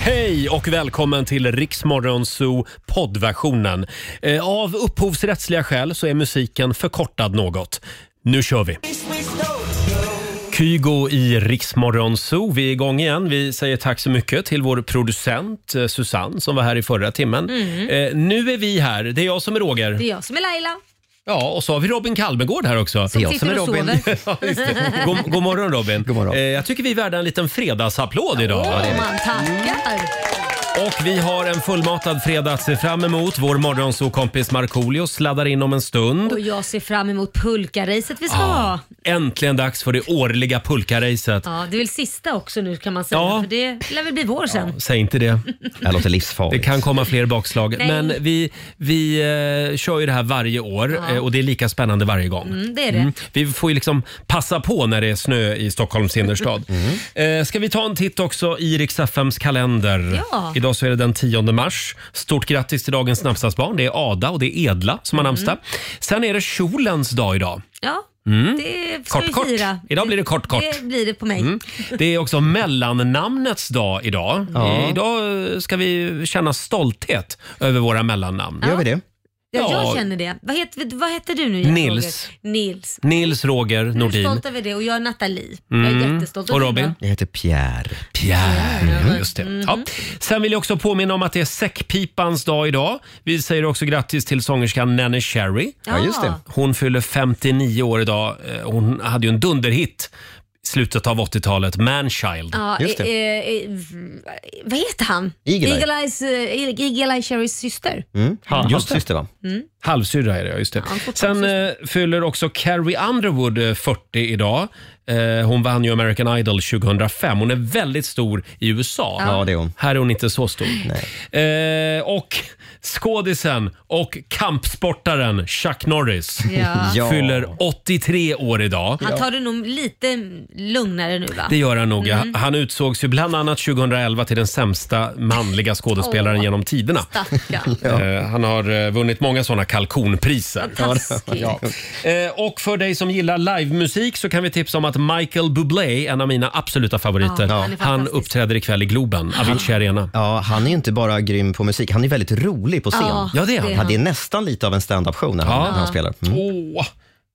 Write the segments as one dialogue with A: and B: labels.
A: Hej och välkommen till Riksmorgonzoo poddversionen. Eh, Av upphovsrättsliga skäl så är musiken förkortad något. Nu kör vi! Kygo i Riksmorgonzoo. Vi är igång igen. Vi säger tack så mycket till vår producent eh, Susanne som var här i förra timmen. Eh, nu är vi här. Det är jag som är Roger.
B: Mm. Det är jag som är Laila.
A: Ja, och så har vi Robin Kalmegård här också.
B: Som Det är jag sitter som är och Robin. sover.
A: ja, just det. God, god morgon Robin. God morgon. jag tycker vi är värda en liten fredagsapplåd idag.
B: Och man tackar.
A: Och vi har en fullmatad fredag att se fram emot. Vår morgonsåkompis Markoolio sladdar in om en stund.
B: Och jag ser fram emot pulkaracet vi ska ha.
A: Äntligen dags för det årliga pulkaracet.
B: Ja, det är väl sista också nu kan man säga.
A: Ja.
B: För det lär väl bli vår sen.
A: Säg inte det.
C: Det här låter
A: Det
C: livsfarligt.
A: kan komma fler bakslag.
B: Nej.
A: Men vi, vi eh, kör ju det här varje år eh, och det är lika spännande varje gång.
B: Mm, det är det.
A: Mm. Vi får ju liksom passa på när det är snö i Stockholms innerstad.
B: Mm.
A: Eh, ska vi ta en titt också i Rix FMs kalender?
B: Ja.
A: Idag så är det den 10 mars. Stort grattis till dagens namnsdagsbarn. Det är Ada och det är Edla som har
B: Mm.
A: namnsdag. Sen är det kjolens dag idag.
B: Ja, det ska
A: Mm. Kort,
B: vi
A: kort.
B: fira.
A: Idag blir det kort, kort. Mm.
B: Det blir det på mig.
A: Det är också mellannamnets dag idag.
C: Ja.
A: Idag eh, ska vi känna stolthet över våra mellannamn.
C: Gör vi det?
B: Ja,
A: Ja.
B: Jag känner det. Vad heter, vad heter du nu igen,
A: Nils.
B: Roger? Nils.
A: Nils Roger
B: Jag är
A: Nordin. Mm.
B: stolt över det och jag är Nathalie. Jag är jättestolt.
A: Och
B: över
A: Robin?
B: det.
C: Jag heter Pierre.
A: Pierre. Just det. Ja. Sen vill jag också påminna om att det är säckpipans dag idag. Vi säger också grattis till sångerskan Nanny Cherry.
C: Ja, just det.
A: Hon fyller 59 år idag. Eh, Hon hade ju en dunderhit i slutet av 80-talet, Manchild.
B: Ja,
C: Just
B: eh, eh,
C: det.
B: eh, vad heter han?
C: Eagle Eye.
B: Eyes, eh, Eagle Eye Cherrys syster.
A: Mm. Ha-
C: Just syster va?
A: Halvsyrra är det, just det.
B: Ja, hon får ta
A: Sen
B: syster.
A: eh, fyller också Carrie Underwood eh, 40 idag. Eh, hon vann ju American Idol 2005. Hon är väldigt stor i USA.
C: Ja, det är hon.
A: Här är hon inte så stor. Eh, och skådisen och kampsportaren Chuck Norris
B: Ja.
C: Ja.
A: fyller 83 år idag.
B: Han tar det nog lite lugnare nu va?
A: Det gör han nog. ja.
B: Mm.
A: Han utsågs ju bland annat 2011 till den sämsta manliga skådespelaren
B: Åh.
A: genom tiderna.
B: Stackarn.
A: Eh, han har eh, vunnit många såna kalkonpriser.
B: Taskig.
A: Eh, och för dig som gillar livemusik så kan vi tipsa om att Michael Bublé, en av mina absoluta favoriter,
B: Ja, han
A: han,
B: är fantastisk.
A: uppträder ikväll i Globen, Avicii Arena.
C: Ja, han är ju inte bara grym på musik, han är väldigt rolig på scen.
B: Ja,
C: Ja,
A: Ja, det är han.
B: det är
C: det är nästan lite av en stand-up-show när, han-
A: Ja.
C: när han spelar. Mm.
A: Åh,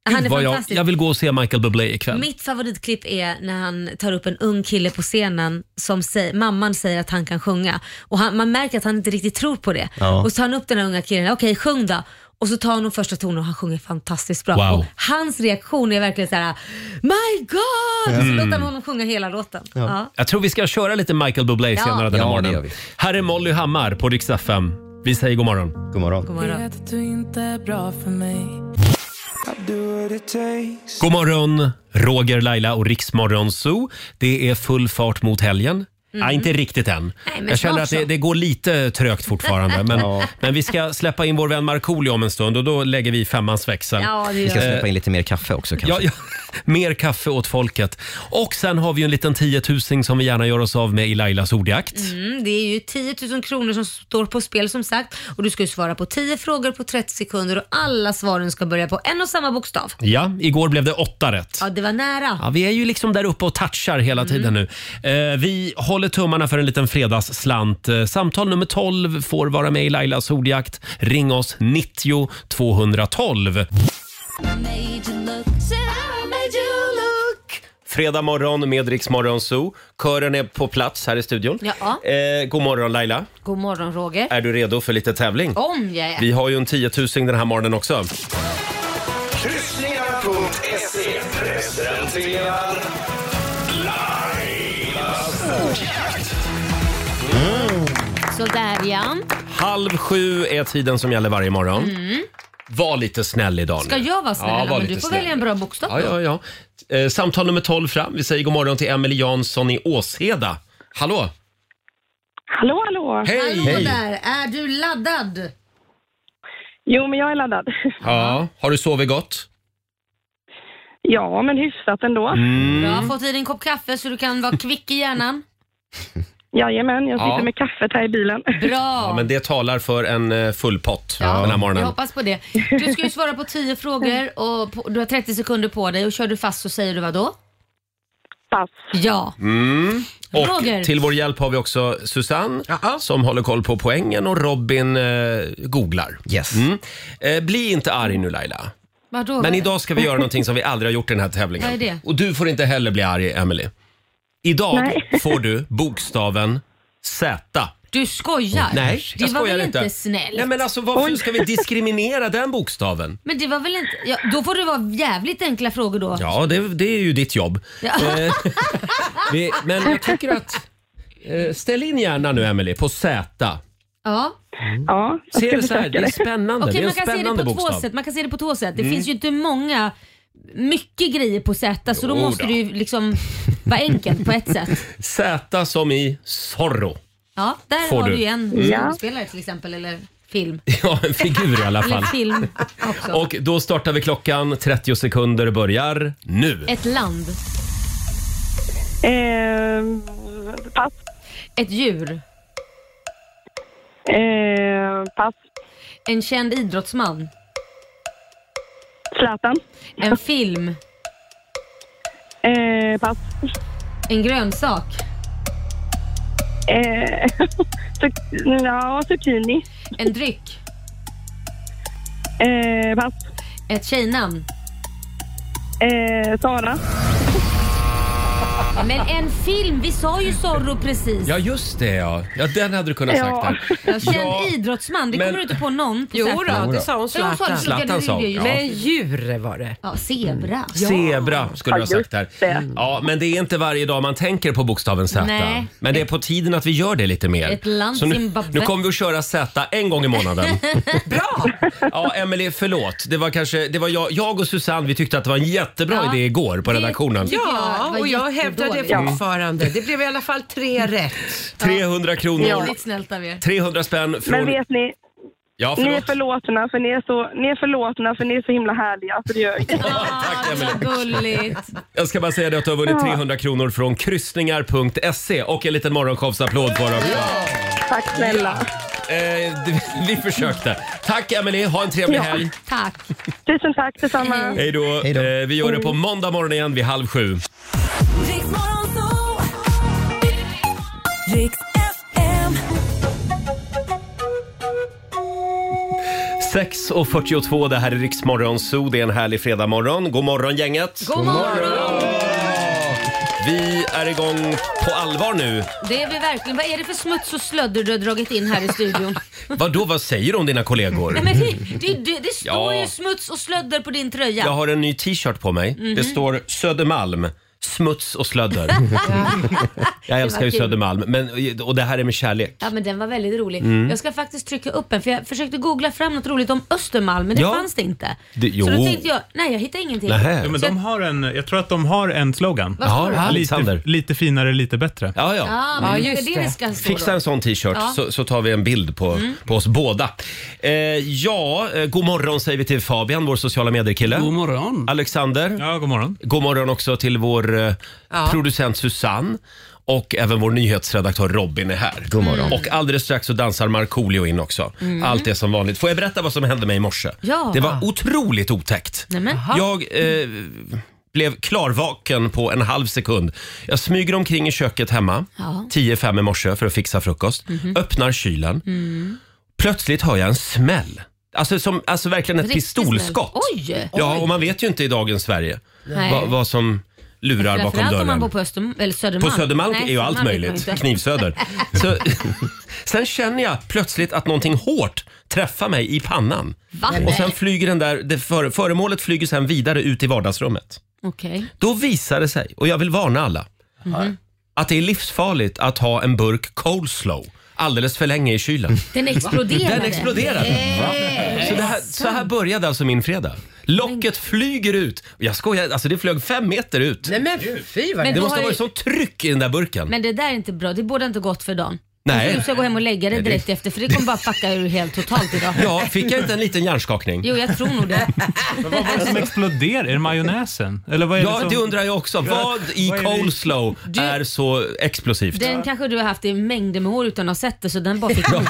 B: Han är
A: gud vad jag,
B: fantastisk.
A: jag vill gå och se Michael Bublé ikväll.
B: Mitt favoritklipp är när han tar upp en ung kille på scenen som säger, mamman säger att han kan sjunga och han, man märker att han inte riktigt tror på det.
C: Ja.
B: Och så tar han upp den här unga killen, okej sjung då. Och så tar han de första tonen och han sjunger fantastiskt bra.
A: Wow.
B: Och hans reaktion är verkligen så här: My God! Så låter han honom sjunga hela låten. Ja.
A: Jag tror vi ska köra lite Michael Bublé
B: Ja.
A: senare den här
C: Ja, det gör
A: morgonen.
C: vi.
A: Här är Molly Hammar på Rix FM. Vi säger god morgon.
C: God morgon.
B: God morgon.
D: Vet att du inte är bra för mig
A: God morgon, Roger, Laila och Riksmorgon Zoo. Det är full fart mot helgen. Nej, inte riktigt än.
B: Mm. men
A: jag känner
B: snart
A: att det,
B: så.
A: det går lite trögt fortfarande. Men, men vi ska släppa in vår vän Markoolio om en stund och då lägger vi femmans växel.
B: Ja, det
C: Vi ska
B: gör
C: släppa in lite mer kaffe också kanske.
A: Ja, ja. Mer kaffe åt folket. Och sen har vi ju en liten tiotusing som vi gärna gör oss av med i Lailas ordjakt.
B: Mm, det är ju 10 000 kronor som står på spel som sagt och du ska ju svara på 10 frågor på 30 sekunder och alla svaren ska börja på en och samma bokstav.
A: Ja, igår blev det åtta rätt.
B: Ja, Mm. det var nära.
A: Ja, vi är ju liksom där uppe och touchar hela tiden nu. Eh, vi håller tummarna för en liten fredagsslant. Eh, samtal nummer 12 får vara med i Lailas ordjakt. Ring oss 90 212. Fredag morgon med Rix Morgon Zoo. Kören är på plats här i studion.
B: Ja.
A: Eh, god morgon Laila.
B: God morgon Roger.
A: Är du redo för lite tävling?
B: Om jag är.
A: Vi har ju en 10 000 den här morgonen också.
E: Kryssningar.se E. presenterar Lailas
B: Sådär ja.
A: Halv sju är tiden som gäller varje morgon. Var lite snäll idag nu.
B: Mm. Ska jag vara snäll?
A: Ja, var
B: Men
A: lite
B: du får
A: snäll.
B: välja en bra bokstav.
A: Ja, ja, ja. Eh, samtal nummer 12 fram. Vi säger god morgon till Emelie Jansson i Åsheda. Hallå!
F: Hallå, hallå!
A: Hej!
B: Hallå där, är du laddad?
F: Jo, men jag är laddad.
A: Ja, har du sovit gott?
F: Ja, men hyfsat ändå.
A: Mm.
B: Jag har fått i dig en kopp kaffe så du kan vara kvick i hjärnan.
F: Jajamän, jag sitter
A: Ja.
F: med kaffet här i bilen.
B: Bra!
A: Ja, men det talar för en eh, full pott den här
B: Jag
A: morgonen.
B: hoppas på det. Du ska ju svara på 10 frågor och på, du har 30 sekunder på dig och kör du fast så säger du vad då?
F: Pass.
B: Ja.
A: Mm. Och
B: Roger.
A: till vår hjälp har vi också Susanne som håller koll på poängen och Robin eh, googlar.
C: Yes.
A: Mm. Eh, bli inte arg nu Laila.
B: Vadå?
A: Men idag ska vi göra någonting som vi aldrig har gjort i den här tävlingen.
B: Vad är det?
A: Och du får inte heller bli arg, Emily. Idag
F: Nej.
A: får du bokstaven Z.
B: Du skojar?
A: Nej,
B: det
A: jag
B: var
A: skojar
B: väl
A: inte.
B: inte snällt?
A: Nej, men alltså varför ska vi diskriminera den bokstaven?
B: Men det var väl inte... Ja, då får det vara jävligt enkla frågor då.
A: Ja, det, det är ju ditt jobb.
B: Ja.
A: Eh, vi, men jag tycker att... Eh, ställ in gärna nu, Emily på Z.
B: Ja.
F: Ja, jag
A: Mm. Ser
F: ska
A: du så här?
F: försöka
A: Det är
F: det.
A: spännande.
B: Okej,
A: det är
B: man
A: en
B: kan se det
A: spännande
B: på två
A: bokstav. Mm.
B: sätt. Man kan se det på två sätt. Det finns ju inte många, mycket grejer på Z, så då
A: Jo
B: måste
A: då.
B: det ju liksom vara enkelt på ett sätt.
A: Z som i Zorro.
B: Ja, där
A: Får
B: har
A: du.
B: du ju en
F: Ja.
B: skådespelare till exempel, eller film.
A: Ja, en figur i alla
B: Eller
A: fall.
B: film också.
A: Och då startar vi klockan. 30 sekunder börjar nu.
B: Ett land,
F: Ehm, pass.
B: ett djur,
F: Ehm, pass.
B: en känd idrottsman,
F: Zlatan.
B: en film,
F: Ehm, pass.
B: en grönsak,
F: Ehm, tu- ja, zucchini.
B: en dryck,
F: Ehm, pass.
B: ett tjejnamn.
F: Ehm, Sara.
B: Men en film, vi sa ju Zorro precis.
A: Ja, just det ja. ja den hade du kunnat
F: Ja.
A: sagt där.
B: Jag känd
A: Ja.
B: idrottsman, det
A: Men-
B: kommer du inte på någon på
G: Jo
B: Z.
G: då, det sa
B: Ja,
G: hon
B: hon sa det,
G: Zlatan.
A: Zlatan
B: det
A: sa hon,
B: gjorde jag ju.
A: ja.
G: Men djur var det.
B: Ja, zebra.
A: Zebra skulle du ha
F: Ja,
A: sagt
F: just
A: där. Mm.
F: det.
A: Ja, men det är inte varje dag man tänker på bokstaven Z.
B: Nej.
A: Men det är på tiden att vi gör det lite mer.
B: Ett land,
A: Så nu,
B: Zimbabwe.
A: nu kommer vi att köra Z en gång i månaden.
G: Bra!
A: Ja, Emily, förlåt. Det var kanske, det var jag, jag och Susanne, vi tyckte att det var en jättebra
B: Ja.
A: idé igår på
B: Det-
A: redaktionen.
B: tycker jag
G: Ja,
B: var
G: och jag hävdar det
B: jättedåligt.
G: fortfarande. Det blev i alla fall
A: Mm.
G: tre rätt.
A: 300 kronor.
B: Väldigt snällt av er.
A: 300 spänn från...
F: Men vet ni,
A: ja,
F: ni är
A: förlåt.
F: förlåtna för ni är så, ni är förlåtna för ni är så himla härliga. Så det gör inget.
A: Tack,
B: Ah,
A: Emily.
B: vad gulligt.
A: Jag ska bara säga det att du har vunnit 300 kronor från kryssningar.se och en liten morgonshowsapplåd på dem.
F: Tack snälla.
A: Eh, d- vi försökte. Tack Emily, ha en trevlig
F: Ja.
A: helg.
B: Tack.
F: Tusen tack detsamma.
A: Hej då.
C: då.
A: Eh, vi gör det på
B: Mm.
A: måndag morgon igen vid halv sju.
D: Riks FM.
A: 6.42, det här är Riksmorgon Zoo. Det är en härlig fredagmorgon. God morgon gänget.
B: God morgon.
A: Vi är igång på allvar nu.
B: Det är vi verkligen. Vad är det för smuts och slödder du har dragit in här i studion?
A: Vadå, vad säger du om dina kollegor?
B: Nej, men det, det, det, det står
A: Ja.
B: ju smuts och slödder på din
A: Jag
B: tröja.
A: har en ny t-shirt på mig. Det står Södermalm. Smuts och slödder. Jag älskar ju
B: kul.
A: Södermalm. Men, och det här är med kärlek.
B: Ja men den var väldigt rolig.
A: Mm.
B: Jag ska faktiskt trycka upp en för jag försökte googla fram något roligt om Östermalm men det
A: Ja.
B: fanns det inte.
A: Det-
B: Så
A: jo.
B: då tänkte jag, nej jag hittar ingenting.
A: Nähä.
H: Ja, men
B: Så
H: de har en, jag tror att de har en slogan.
B: Vad står
A: Ja,
B: det?
A: här. Alexander.
H: Lite, lite finare, lite bättre.
A: Ja, ja.
B: Ja, men
G: Ja,
B: det är
G: just
B: det det
G: det.
B: ska stå
A: Fixa
B: då.
A: en sån t-shirt
B: Ja.
A: så, så tar vi en bild på, på oss båda. Eh, ja, eh, god morgon säger vi till Fabian, vår sociala medier-kille.
I: God morgon.
A: Alexander,
H: Ja, god morgon.
A: god morgon också till vår eh, producent Susanne. Och även vår nyhetsredaktör Robin är här. God morgon. Och alldeles strax så dansar Markoolio in också. Allt är som vanligt. Får jag berätta vad som hände mig i morse?
B: Mm. Ja.
A: Det var otroligt otäckt.
B: Nej, men.
A: Jag eh, blev klarvaken på en halv sekund. Jag smyger omkring i köket hemma,
B: Ja. Mhm.
A: 10-5 i morse för att fixa frukost. Öppnar kylen.
B: Mm.
A: Plötsligt hör jag en smäll. Alltså, som, alltså verkligen ett
B: Riktigt
A: pistolskott.
B: smäll. Oj!
A: Ja, och man vet ju inte i dagens Sverige
B: Nej.
A: vad, vad som lurar bakom
B: Framförallt om man
A: dörren.
B: bor på, Östermalm, eller Södermalm.
A: På Södermalm
B: Nej,
A: är ju allt
B: Södermalm vet man
A: möjligt.
B: inte.
A: Knivsöder. Så, sen känner jag plötsligt att någonting hårt träffar mig i pannan.
B: Va?
A: Och sen flyger den där, det före, föremålet flyger sen vidare ut i vardagsrummet.
B: Okej.
A: Då visar det sig, och jag vill varna alla,
B: Mhm.
A: att det är livsfarligt att ha en burk coleslaw alldeles för länge i kylen.
B: Den exploderade.
A: Den exploderade. Så, det här, så här började alltså min fredag. Locket flyger ut. Jag skojar, alltså det flög fem meter ut.
G: Nej men fy vad
B: Men,
A: Det måste
B: då har
A: ha
B: ju-
A: varit sånt tryck i den där burken.
B: men det där är inte bra. Det borde inte gått för dagen. Nej.
A: Nej.
B: Du ska gå hem och lägga dig
C: Nej, det-
B: direkt efter för det kommer bara fucka ur helt totalt idag.
A: Ja, fick jag inte en liten hjärnskakning?
B: Jo, jag tror nog det.
H: Vad var det som exploderar? Är det majonnäsen? Eller vad är det
A: Ja,
H: som...
A: det undrar jag också. Vad i
H: Vad är det?
A: coleslaw är så explosivt?
B: Den kanske du har haft i mängder med år utan att ha sett det så den bara fick nog.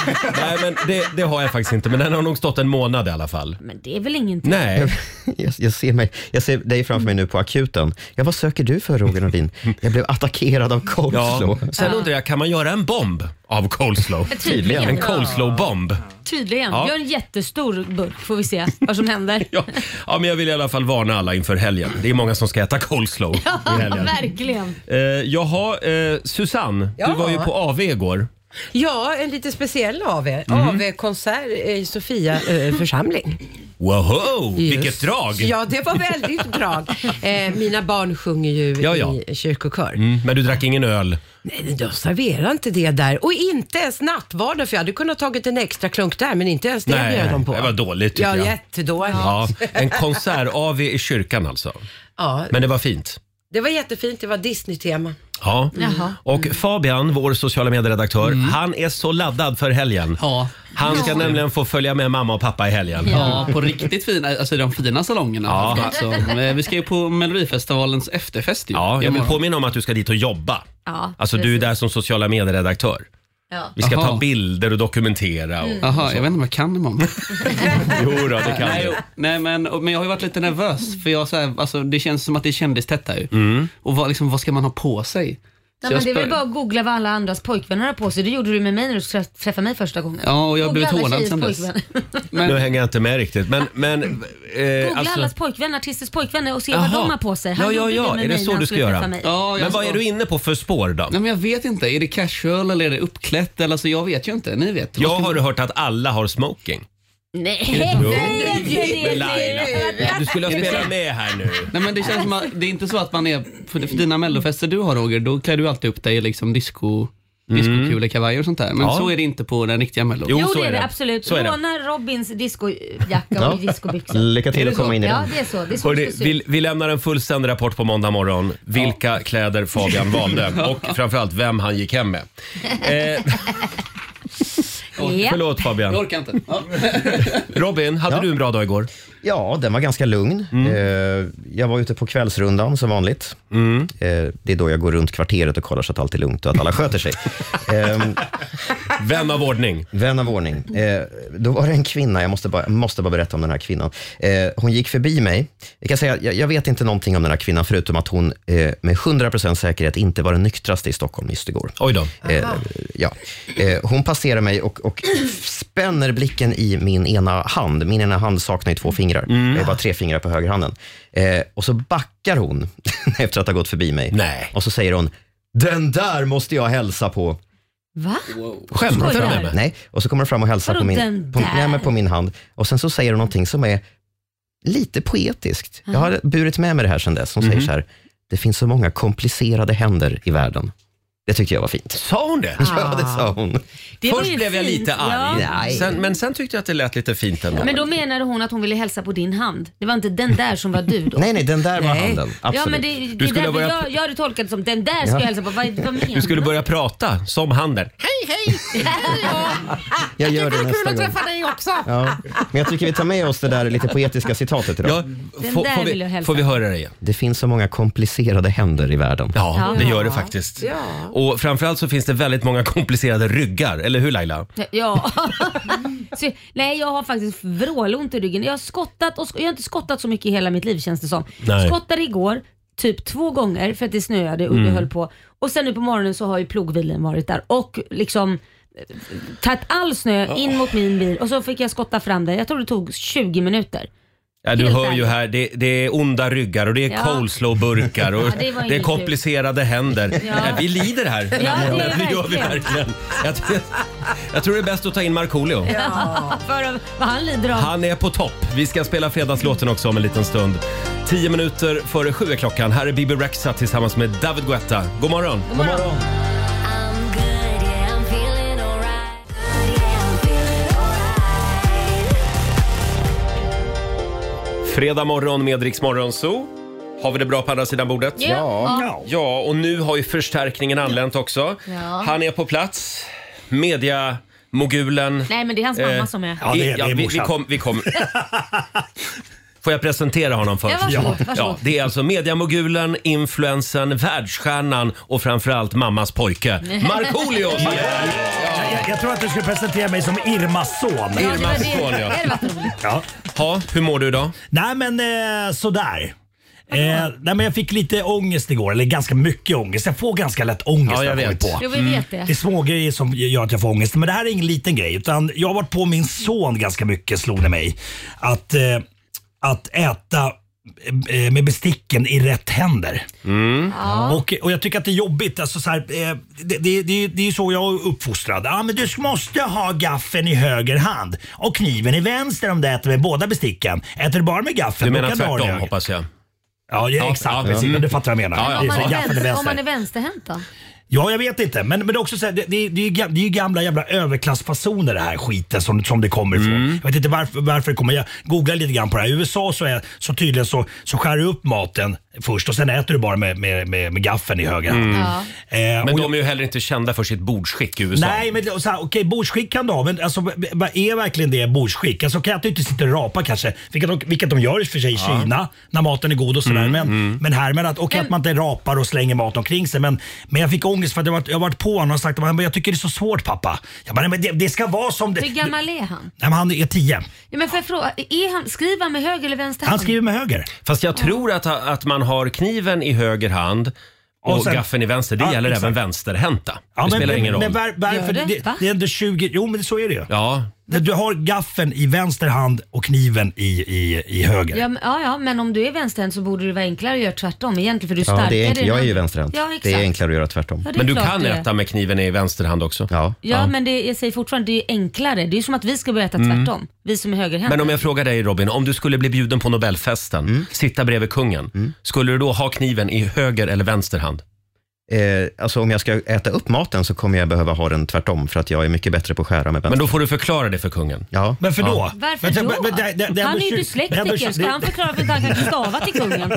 A: Nej, men det, det har jag faktiskt inte. Men den har nog stått en månad i alla fall.
B: Men det är väl ingenting.
A: Nej.
C: Jag, jag, ser mig, jag ser dig framför mig nu på akuten. Ja, vad söker du för Roger Nordin? Jag blev attackerad av
A: Ja.
C: coleslaw.
A: Sen undrar jag, kan man göra en bomb av coleslaw?
B: Tydligen.
A: En coleslaw-bomb.
B: Tydligen.
A: Ja.
B: Gör en jättestor burk får vi se vad som händer.
A: Ja. ja, men jag vill i alla fall varna alla inför helgen. Det är många som ska äta coleslaw i helgen.
B: Verkligen.
A: Eh, jaha, eh, Susanne,
G: Ja.
A: du var ju på AV igår.
G: Ja, en lite speciell av er.
A: Mm.
G: AV-konsert i Sofia eh, församling.
A: Wow,
G: Just.
A: vilket drag!
G: Ja, det var väldigt drag. Eh, mina barn sjunger ju
A: Ja, ja.
G: i kyrkokör.
A: Mm, men du drack ingen öl?
G: Nej, de serverar inte det där. Och inte ens nattvarden, för jag hade kunnat tagit en extra klunk där, men inte ens det
A: Nej,
G: bjöd de på.
A: det var dåligt, tycker
G: Ja,
A: jag.
G: jättedåligt.
A: Ja,
G: Ja.
A: en konsert av i kyrkan alltså. Men det var fint.
G: det var jättefint. Det var Disney-tema.
A: Ja.
B: Jaha.
A: Och
G: Mm.
A: Fabian, vår sociala medieredaktör, han är så laddad för helgen.
I: Ja.
A: Han ska nämligen få följa med mamma och pappa i helgen.
I: Ja, på riktigt fina, alltså de fina salongerna.
A: Ja.
I: Alltså, eh, vi ska ju på Melodifestivalens efterfest ju,
A: Ja, jag vill
I: imorgon.
A: påminna om att du ska dit och jobba.
B: Ja,
A: Alltså du är där som sociala medieredaktör.
B: Ja.
A: Vi ska
I: Aha.
A: ta bilder och dokumentera. Och...
J: Mm.
I: Jaha, jag vet inte om jag kan imorgon.
A: Jo då, det kan
I: Nej,
A: du.
I: jo. nej men, och- men jag har ju varit lite nervös, för jag, så här, alltså, det känns som att det är kändistätt där ju.
A: Mm.
I: Och vad, liksom, vad ska man ha på sig? Så
B: Nej,
I: jag
B: men det är väl
I: spö-
B: bara att googla vad alla andras pojkvänner har på sig. Det gjorde du med mig när du träff- träffade mig första gången.
I: Ja, och jag har
B: Googla
I: blivit
B: alla
I: hånad
B: tjejers
I: sen dess.
B: pojkvänner.
I: Men,
A: Nu hänger jag inte med riktigt. Men, men, eh,
B: Googla
A: alltså,
B: allas pojkvänner, artisters pojkvänner och se
A: Jaha.
B: vad de har på sig. Han
A: Ja, ja,
B: gjorde
A: ja.
B: det med
A: Är det så
B: mig när han
A: du ska
B: skulle
A: göra?
B: träffa mig.
I: ja, jag
A: men vad
I: ska-
A: är du inne på för spår då?
I: Nej, men jag vet inte. Är det casual eller är det uppklätt? Eller, alltså, jag vet ju inte. Ni vet.
A: Jag har hört att alla har smoking.
B: Nej,
A: Jo.
B: säg inte
A: Men
B: det!
A: Laila, du skulle ha spelat med här nu.
I: Nej, men det, känns som att, det är inte så att man är... För för dina mellofester du har Roger, då klär du alltid upp dig i liksom disco, discokulekavajer och sånt där. Men
A: Ja.
I: så är det inte på den riktiga mellon.
A: Jo,
B: Jo,
A: så
B: det
A: är
B: är det
A: det.
B: absolut.
A: Så är det.
B: Låna Robins discojacka
C: Ja.
B: och discobyxor.
C: Lycka till att komma in i
B: Ja,
C: den.
B: det är så. Det är så
A: Hörrni,
B: det ska se ut.
A: vi, vi lämnar en fullständig rapport på måndag morgon. Vilka kläder Fabian valde och framförallt vem han gick hem med. Eh,
B: Ja.
A: förlåt
I: Jag
A: Fabian.
I: orkar inte. Ja.
A: Robin, hade du en bra dag igår?
C: Ja, den var ganska lugn. Eh, Jag var ute på kvällsrundan som vanligt. Eh, Det är då jag går runt kvarteret och kollar så att allt är lugnt och att alla sköter sig. Ehm,
A: Vän av ordning.
C: Vän av ordning. Eh, då var det en kvinna, jag måste bara, måste bara berätta om den här kvinnan. Eh, hon gick förbi mig. Jag, kan säga, jag, jag vet inte någonting om den här kvinnan förutom att hon eh, med 100% säkerhet inte var den nyktraste i Stockholm just igår.
A: Oj då.
C: Eh, ja. eh, hon passerar mig och, och spänner blicken i min ena hand. Min ena hand saknar ju två fingrar.
A: Mm.
C: Jag har bara tre fingrar på högerhanden. Eh, och så backar hon efter att ha gått förbi mig.
A: Nej.
C: Och så säger hon, den där måste jag hälsa på.
B: Va?
A: Skämtar du
B: Skojar.
A: med mig?
C: Nej, och så kommer hon fram och hälsar
B: Vadå,
C: på min,
B: den
C: på,
B: där?
C: nej, men på min hand. Och sen så säger hon någonting som är lite poetiskt. Jag har burit med mig det här sedan dess. Hon
A: Mm.
C: säger så här, det finns så många komplicerade händer i världen. Det tyckte jag var fint.
A: Sa hon det?
C: Ja, det sa hon.
B: Det var
A: Först
B: ju
A: blev jag
B: fint.
A: lite
B: Ja.
A: arg, sen, men sen tyckte jag att det lät lite fint ändå.
B: Men då menade hon att hon ville hälsa på din hand. Det var inte den där som var du då.
C: Nej, nej, den där var
G: Nej.
C: handen. Absolut.
B: Ja, men det, det
A: Du
B: du
A: skulle
B: skulle
A: börja-
B: jag, jag hade tolkat det som den där ska jag hälsa på. Vad, vad menar
A: Du skulle börja prata som handen.
C: jag gör det nästa gång.
B: dig också.
C: Ja. Men jag tycker vi tar med oss det där lite poetiska citatet idag.
A: Ja, får,
B: där
A: får,
B: vill jag
A: vi,
B: hälsa.
A: får vi höra det igen?
C: Det finns så många komplicerade händer i världen.
A: Ja,
B: Ja.
A: det gör det faktiskt. Och framförallt så finns det väldigt många komplicerade ryggar, eller hur Laila?
B: Ja. så, nej, jag har faktiskt vrålont i ryggen. Jag har skottat och sk- jag har inte skottat så mycket i hela mitt liv känns det som.
A: Nej.
B: Skottade igår typ två gånger för att det snöade och det
A: Mm.
B: höll på. Och sen nu på morgonen så har ju plogbilen varit där och liksom eh, tagit all snö in mot min bil och så fick jag skotta fram den. Jag tror det tog 20 minuter.
A: Ja, du
B: Helt
A: hör
B: ärligt.
A: ju här, det, det är onda ryggar och det är
B: Ja.
A: coleslawburkar och
B: det var
A: det är
B: inget
A: komplicerade händer.
B: Ja.
A: Nej, vi lider här den här
B: Ja, det
A: morgonen.
B: är
A: Det gör vi
B: verkligen.
A: verkligen. Jag, tror- jag tror det är bäst att ta in Markoolio.
B: För vad han lider av.
A: Han är på topp. Vi ska spela fredagslåten också om en liten stund. Tio minuter före sju är klockan. Här är Bibi Rexa tillsammans med David Guetta. God morgon!
B: God morgon.
A: Fredag morgon med Rix Morgon Zoo. Har vi det bra på andra sidan bordet?
B: Ja.
A: Ja, och nu har ju förstärkningen anlänt också.
B: Ja.
A: Han är på plats. mediamogulen.
B: Nej men det är hans mamma som är.
A: Ja,
J: det är- det är
A: vi, vi
J: morsan.
A: kom, vi kom. Får jag presentera honom först?
B: Ja, varsågod, varsågod.
A: Ja, det är alltså mediamogulen, influensen, världsstjärnan och framförallt mammas pojke. Markoolio!
J: Jag, jag tror att du skulle presentera mig som Irmas son.
B: Ja, det var
A: Irmas
B: det.
A: son,
B: Det
A: ja.
B: hade varit roligt.
J: Ja.
A: Ha, hur mår du idag?
J: Nej men eh, sådär. Eh, nej, men jag fick lite ångest igår, eller ganska mycket ångest. Jag får ganska lätt ångest
A: Ja,
J: har
A: jag
J: kommit
A: vet.
J: på.
B: Jo, vi vet det.
J: Det är små grejer som gör att jag får ångest. Men det här är ingen liten grej. Utan jag har varit på min son ganska mycket, slog det mig. Att, eh, att äta eh, med besticken i rätt händer.
A: Mm.
J: Och, och jag tycker att det är jobbigt. Alltså så här, eh, det, det, det, det är ju så jag är uppfostrad. Ja, men du måste ha gaffeln i höger hand och kniven i vänster om du äter med båda besticken. Äter du bara med
A: Du
J: gaffeln då
A: menar
J: kan du ha den i
A: tvärtom
J: höger.
A: hoppas jag.
J: Ja, ja
A: Ja,
J: exakt.
A: ja.
J: Precis,
A: Mm.
J: men du fattar vad jag menar.
A: Ja, ja.
B: Om man,
J: Det är
B: är
J: gaffeln i
B: vänster, om
J: vänster.
B: man är vänsterhänt då?
J: Ja, jag vet inte. Men, men det är också så här, det, det, det är ju gam- det är ju gamla jävla överklassfasoner det här skiten som, som det kommer ifrån. Jag vet inte varför, varför det kommer. Jag googlar lite grann på det här. I USA så, är, så tydligen så, så skär du upp maten först och sen äter du bara med, med, med, med gaffeln i höger hand.
B: Ja.
J: Eh,
A: Men
J: och
A: de är ju heller inte kända för sitt bordsskick i USA.
J: Nej, men det- och så här, okej, bordsskick kan du ha, men alltså, v- vad är verkligen det bordsskick? Alltså kan jag inte sitta och rapa kanske, vilket de, vilket de gör i och för sig i Kina när maten är god och
A: Mm,
J: sådär. men, men här med att, okej att man inte rapar och slänger mat omkring sig. Men, men jag fick ångest för att jag varit, jag varit på honom och sagt att jag tycker det är så svårt pappa. Jag bara, "Nej, men det, det ska vara som det...
B: Hur gammal är han?
J: Nej, men han är tio.
B: Ja, men får jag fråga, är han, skriver han med höger eller vänster
J: Han
B: hand?
J: skriver med höger.
A: Fast jag tror att, att man har kniven i höger hand och,
J: Och sen-
A: gaffeln i vänster. Det
J: Ja,
A: gäller
J: exakt.
A: även vänsterhänta.
J: Ja,
A: det
J: men,
A: spelar
J: men,
A: ingen roll.
J: Men var, varför?
B: Gör det?
J: Det,
B: Va?
J: det är ändå 20... Jo, men så är det ju.
A: ja,
J: Du har gaffeln i vänster hand och kniven i, i, i höger.
B: Ja, men- ja, ja, men om du är vänsterhänt så borde det vara enklare att göra tvärtom egentligen för du är
C: Ja,
B: starkare.
C: det är enkelt.
B: än
C: Jag är ju
B: andra.
C: vänsterhänt.
B: Ja, exakt.
C: det är enklare att göra tvärtom.
B: Ja, det är
A: men du
B: klart
A: kan
B: det är.
A: äta med kniven i vänster hand också.
C: Ja.
B: Ja, men det, jag säger fortfarande det är enklare. Det är som att vi ska börja äta tvärtom. Vi som är högerhänta.
A: Men om jag frågar dig Robin, om du skulle bli bjuden på Nobelfesten,
J: Mm.
A: sitta bredvid kungen, skulle du då ha kniven i höger eller vänster hand?
C: Eh, alltså om jag ska äta upp maten så kommer jag behöva ha den tvärtom för att jag är mycket bättre på att skära med
A: Men
C: vänster.
A: då får du förklara det för kungen.
C: Ja.
J: Varför då?
B: Varför
J: Men-
B: då?
J: men- men det- det- det-
B: han är
J: det-
B: ju
J: det-
B: dyslektiker.
J: det-
B: Ska han förklara för att han kan stava till kungen?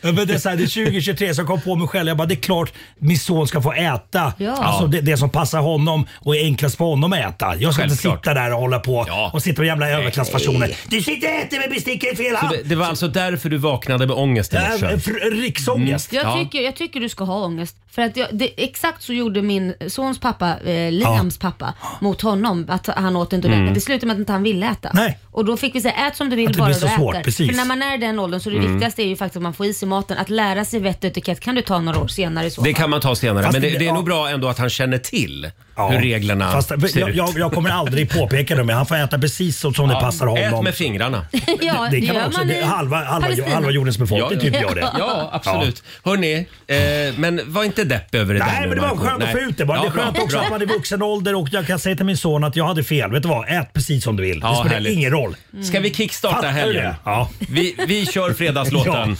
J: Ja, Men det, är så här, det är 2023 så jag kom på mig själv. Jag bara, det är klart min son ska få äta
B: Ja.
J: alltså, det, det som passar honom och är enklast för honom att äta. Jag ska
A: Självklart.
J: inte sitta där och hålla på
A: Ja.
J: och sitta med jävla överklassfasoner. Du sitter och äter med besticken i fel
A: Så
J: hand.
A: det, det var alltså därför du vaknade med ångest i
J: Det här är
A: morse?
J: fr- Riksångest.
B: Jag,
A: Ja.
B: tycker, jag tycker du ska ha ångest. För att jag, det, exakt så gjorde min sons pappa, eh, Liams pappa, mot honom. Att han åt inte ordentligt. Det slutade med att inte han ville äta.
J: Mm. Nej.
B: Och då fick vi säga, ät som du vill
J: Att det
B: bara
J: blir
B: du
J: så svårt,
B: äter.
J: precis. Mm.
B: För när man är i den åldern så det viktigaste är ju faktiskt att man får is i maten. Att lära sig vett och etikett kan du ta några år senare i så
A: Det
B: fall.
A: kan man ta senare,
J: Fast
A: men det,
J: det-
A: det är
J: ja.
A: nog bra ändå att han känner till
J: Ja.
A: hur reglerna
J: Fast,
A: ser
J: jag,
A: ut.
J: jag, jag kommer aldrig påpeka det, men han får äta precis som, som det passar
A: Ät
J: honom.
A: med fingrarna.
B: ja,
J: det kan man också. Det, halva, halva,
B: Palestina.
J: halva jordens befolkning typ gör det.
A: Ja, absolut. Hörni, eh, men var inte depp över det där
J: Nej,
A: nu,
J: men det var
A: Marco.
J: skönt att få
A: Nej.
J: ut det bara. det är
A: Ja, bra,
J: skönt också
A: bra.
J: att man är i vuxen ålder och jag kan säga till min son att jag hade fel. Vet du vad? Ät precis som du vill.
A: Ja,
J: det spelar
A: härligt.
J: ingen roll.
A: Ska vi kickstarta
J: Fattar du
A: helgen?
J: det? Ja.
A: Vi, vi kör fredagslåten.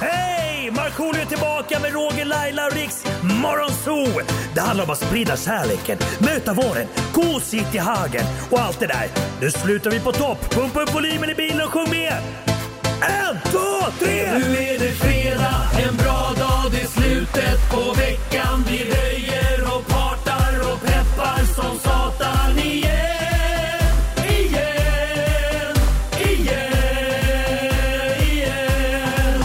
J: Hej! Markoolio är tillbaka med Roger, Laila och Riks Morgonzoo! Det handlar om att sprida kärleken, möta våren, gosigt i hagen och allt det där. Nu slutar vi på topp! Pumpa upp volymen i bilen och sjung med! En, två, tre! Nu är det fredag, en bra dag, det är slutet på veckan. Vi röjer och partar och peppar som satan igen, igen, igen, igen.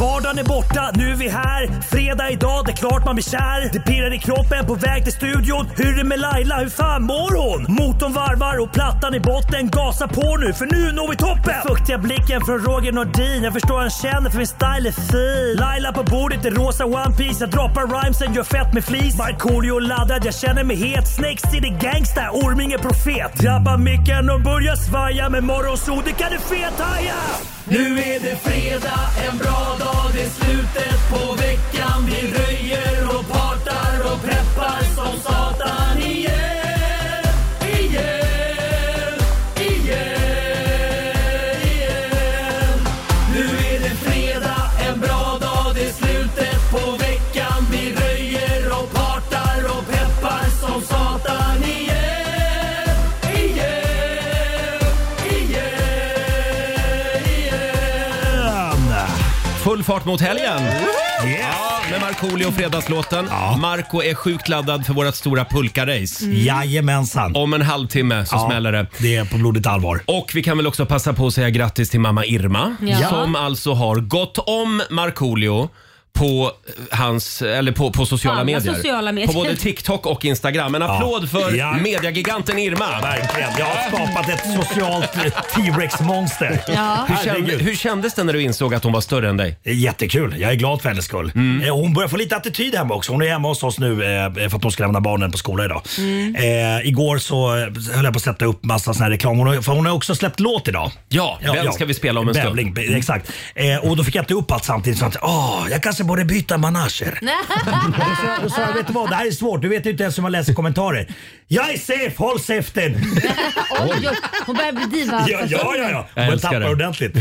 J: Vardagen är borta, nu är vi här. Fredag idag, det är klart man blir kär. Det pirrar i kroppen på väg till studion. Hur är det med Laila, hur fan mår hon? Motorn varvar och plattan i botten. Gasa på nu, för nu når vi toppen! Den fuktiga blicken från Roger Nordin. Jag förstår han känner för min style är fin. Laila på bordet i rosa One Piece Jag droppar rhymesen, gör fett med flis. Markoolio laddad, jag känner mig het. Snake City gangsta, Orminge profet. Drabbar micken och börjar svaja. Med morgonsol, det kan du fethaja! Nu är det fredag, en bra dag, det är slutet på veckan Vi röjer och partar och peppar som satan igen Igen, igen, igen Nu är det fredag, en bra dag, det är slutet på veckan Vi röjer och partar och peppar som satan igen Igen, igen, igen
A: Full fart mot helgen! Ja, med Markoolio och Fredagslåten. Marco är sjukt laddad för vårt stora pulkarace.
J: Jajamensan.
A: Om en halvtimme så
J: Mm. Ja,
A: smäller det.
J: Det är på blodigt allvar.
A: Och vi kan väl också passa på att säga grattis till mamma Irma
B: Ja.
A: som alltså har gått om Markoolio på hans, eller på, på sociala,
B: Alla
A: medier.
B: sociala medier.
A: På både TikTok och Instagram. En applåd för
J: Ja.
A: mediagiganten Irma.
J: Verkligen. Jag har skapat ett socialt eh, T-Rex-monster.
B: Ja.
A: Hur, kände,
J: Herregud.
A: hur kändes det när du insåg att hon var större än dig?
J: Det är Jättekul. Jag är glad för hennes skull.
A: Mm.
J: Eh, Hon börjar få lite attityd hemma också. Hon är hemma hos oss nu eh, för att hon ska lämna barnen på skola idag.
A: Mm.
J: Eh, igår så eh, höll jag på att släppa upp massa sån här reklam. Hon har, för hon har också släppt låt idag.
A: Ja, den ska vi spela om en stund.
J: Bävling, be- Exakt. Eh, och då fick jag inte upp allt samtidigt. Så att, åh, jag kanske borde byta manager. Då sa- Då sa jag, vet du vad, det här är svårt. Du vet ju inte ens hur man läser kommentarer. Jag är safe, håll käften!
B: Oj, oj. Hon börjar bli diva.
J: Ja, ja, ja. ja.
A: Jag
J: Hon
A: älskar det.
J: tappar ordentligt.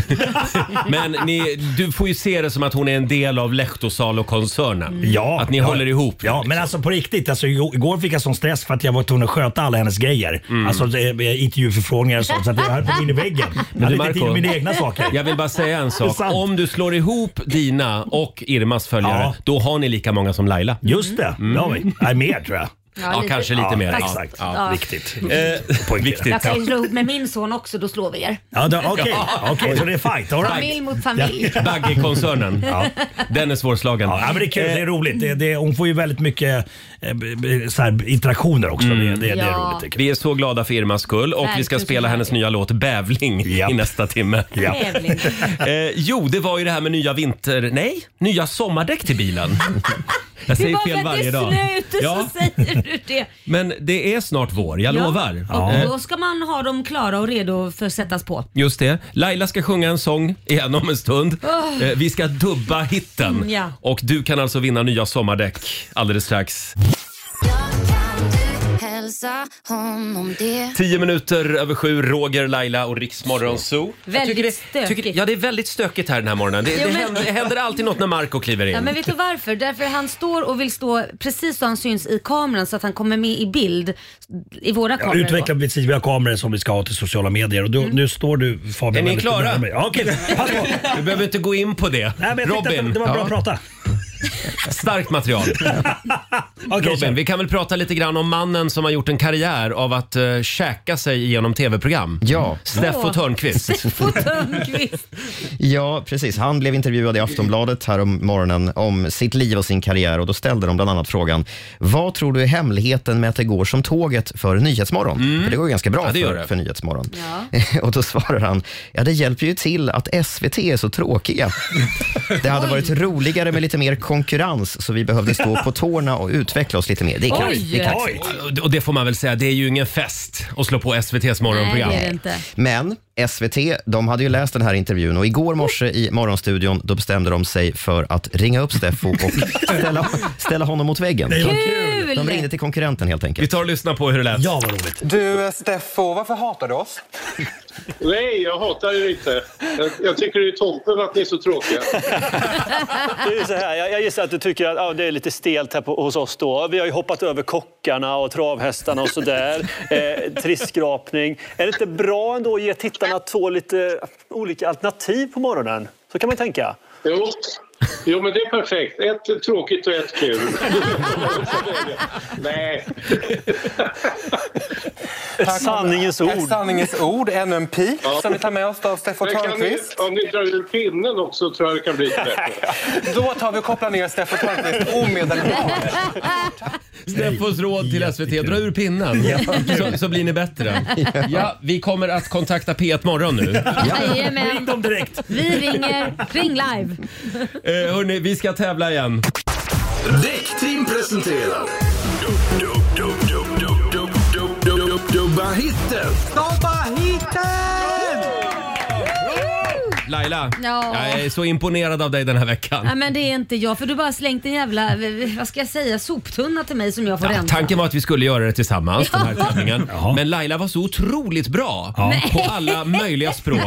A: Men ni, du får ju se det som att hon är en del av Lehtosalo-koncernen.
J: Mm. Ja,
A: Att ni
J: ja.
A: håller ihop. liksom.
J: Ja, men alltså på riktigt. Alltså, igår igår fick jag sån stress för att jag var tvungen att sköta alla hennes grejer.
A: Mm.
J: Alltså eh, intervjuförfrågningar och sånt. Så att jag höll på att gå in i väggen. Jag hade inte tid
A: Marco,
J: med mina egna saker.
A: Jag vill bara säga en
J: Det
A: sak.
J: är sant.
A: Om du slår ihop dina och Irmas följare,
J: Ja.
A: då har ni lika många som Laila.
J: Just det, det har vi. Nej, mer tror jag.
A: Ja, kanske Mm. lite mer. Ja,
J: Exakt.
A: ja.
B: Ja.
J: Viktigt.
A: Eh,
J: Poängterat.
A: viktigt.
B: Jag kan ju slå ihop med min son också, då slår vi er.
J: Ja, då- Okej, Okej, så det är fight. All right.
B: Familj mot familj.
A: Bagge-koncernen.
J: Ja.
A: Den är svårslagen.
J: Ja, men det är kul, det är roligt. Det, det, hon får ju väldigt mycket eh, b- b- så här, interaktioner också. Det, det, det är
B: Ja.
J: roligt tycker jag.
A: Vi är så glada för Irmas skull och vi ska
B: Verkligen så
A: spela hennes nya låt Bävling
J: Ja.
A: i nästa timme.
J: Ja.
B: Tävling.
A: Eh, jo, det var ju det här med nya vinter... Nej, nya sommardäck till bilen. Jag
B: Det är
A: säger
B: bara för
A: fel
B: att det
A: varje
B: är
A: dag.
B: snö ute
A: Ja,
B: så säger du det.
A: men det är snart vår, jag lovar.
C: Eh.
B: Och då ska man ha dem klara och redo för att sättas på.
A: Just det. Laila ska sjunga en sång igen om en stund. Eh, Vi ska dubba hitten.
B: Ah. Mm, ja.
A: Och du kan alltså vinna nya sommardäck alldeles strax.
K: Hälsa honom det.
A: Tio minuter över sju, Roger, Laila och Riksmorgon Zoo.
B: Väldigt
A: Jag
B: stökigt.
A: Tycker, ja, det är väldigt stökigt här den här morgonen. Det,
B: Jo,
A: det,
B: men-
A: händer, det händer alltid något när Marco kliver in.
B: Ja, men vet du varför? Därför han står och vill stå precis så han syns i kameran så att han kommer med i bild i våra
J: Ja,
B: kameror. då.
J: utveckla precis våra kameror som vi ska ha till sociala medier. Och då, Nu står du Fabian
A: Mm. Är ni
J: väldigt
A: klara?
J: nära mig. Ja, Okej, pass på.
A: Du behöver inte gå in på det.
J: Nej, men jag tyckte
A: Robin,
J: att det var bra att prata.
A: starkt material.
J: Okej,
A: Robin, vi kan väl prata lite grann om mannen som har gjort en karriär av att uh, käka sig igenom tv-program.
C: Ja,
A: Steffo
B: Åh.
A: Törnqvist.
B: Steffo Törnqvist.
C: ja, precis. Han blev intervjuad i Aftonbladet här om morgonen om sitt liv och sin karriär och då ställde de bland annat frågan, vad tror du är hemligheten med att det går som tåget för Nyhetsmorgon? För det går ju ganska bra
A: Mm. Ja, det gör
C: för,
A: det.
C: för Nyhetsmorgon. Och då svarar han, ja det hjälper ju till att SVT är så tråkiga. Det hade varit roligare med lite mer konkurrens så vi behövde stå på tårna och utveckla oss lite mer. Det är kaxigt.
B: Oj.
C: det är kaxigt.
J: Oj.
A: Och- Och det får man väl säga, det är ju ingen fest att slå på SVTs
B: Nej, det
A: morgonprogram.
B: är det inte.
C: Men SVT, de hade ju läst den här intervjun och igår morse i Morgonstudion, då bestämde de sig för att ringa upp Steffo och ställa, ställa honom mot väggen. De ringde
B: Kul!
C: till konkurrenten helt
A: Vi
C: enkelt.
A: tar och lyssnar på hur det lät.
J: Ja, vad roligt.
E: Du, Steffo, varför hatar du oss?
L: Nej, jag hatar er inte. Jag, jag tycker det är toppen att ni är så tråkiga. Det är så här, jag, jag gissar att du tycker att ja, det är lite stelt här på, hos oss då. Vi har ju hoppat över kockarna och travhästarna och sådär. Eh, trisskrapning. Är det inte bra ändå att ge tittarna två lite olika alternativ på morgonen? Så kan man ju tänka. Jo. Jo, men det är perfekt. Ett tråkigt och ett kul. Nej. Ett sanningens ord.
E: Ett sanningens ord, ännu en pik som vi tar med oss av Steffo Törnqvist.
L: om ni drar ur pinnen också tror jag det kan bli bättre.
E: Då tar vi och kopplar ner Steffo Törnqvist omedelbart.
A: Steffos råd till SVT, dra ur pinnen så, så blir ni bättre. Ja, vi kommer att kontakta P1 Morgon nu.
J: Ring
B: Jajamän.
J: dem direkt.
B: Vi ringer. Ring live.
A: Eh, hörni, vi ska tävla igen.
E: Däckteam presenterar... Dubba hitten! Dubba hitten!
A: Laila,
B: Ja.
A: jag är så imponerad av dig den här veckan.
B: Nej men det är inte jag för du bara slängt en jävla, vad ska jag säga, soptunna till mig som jag får
A: Ja,
B: rensa.
A: tanken var att vi skulle göra det tillsammans, den här tävlingen.
J: Ja.
A: Men Laila var så otroligt bra på alla möjliga språk.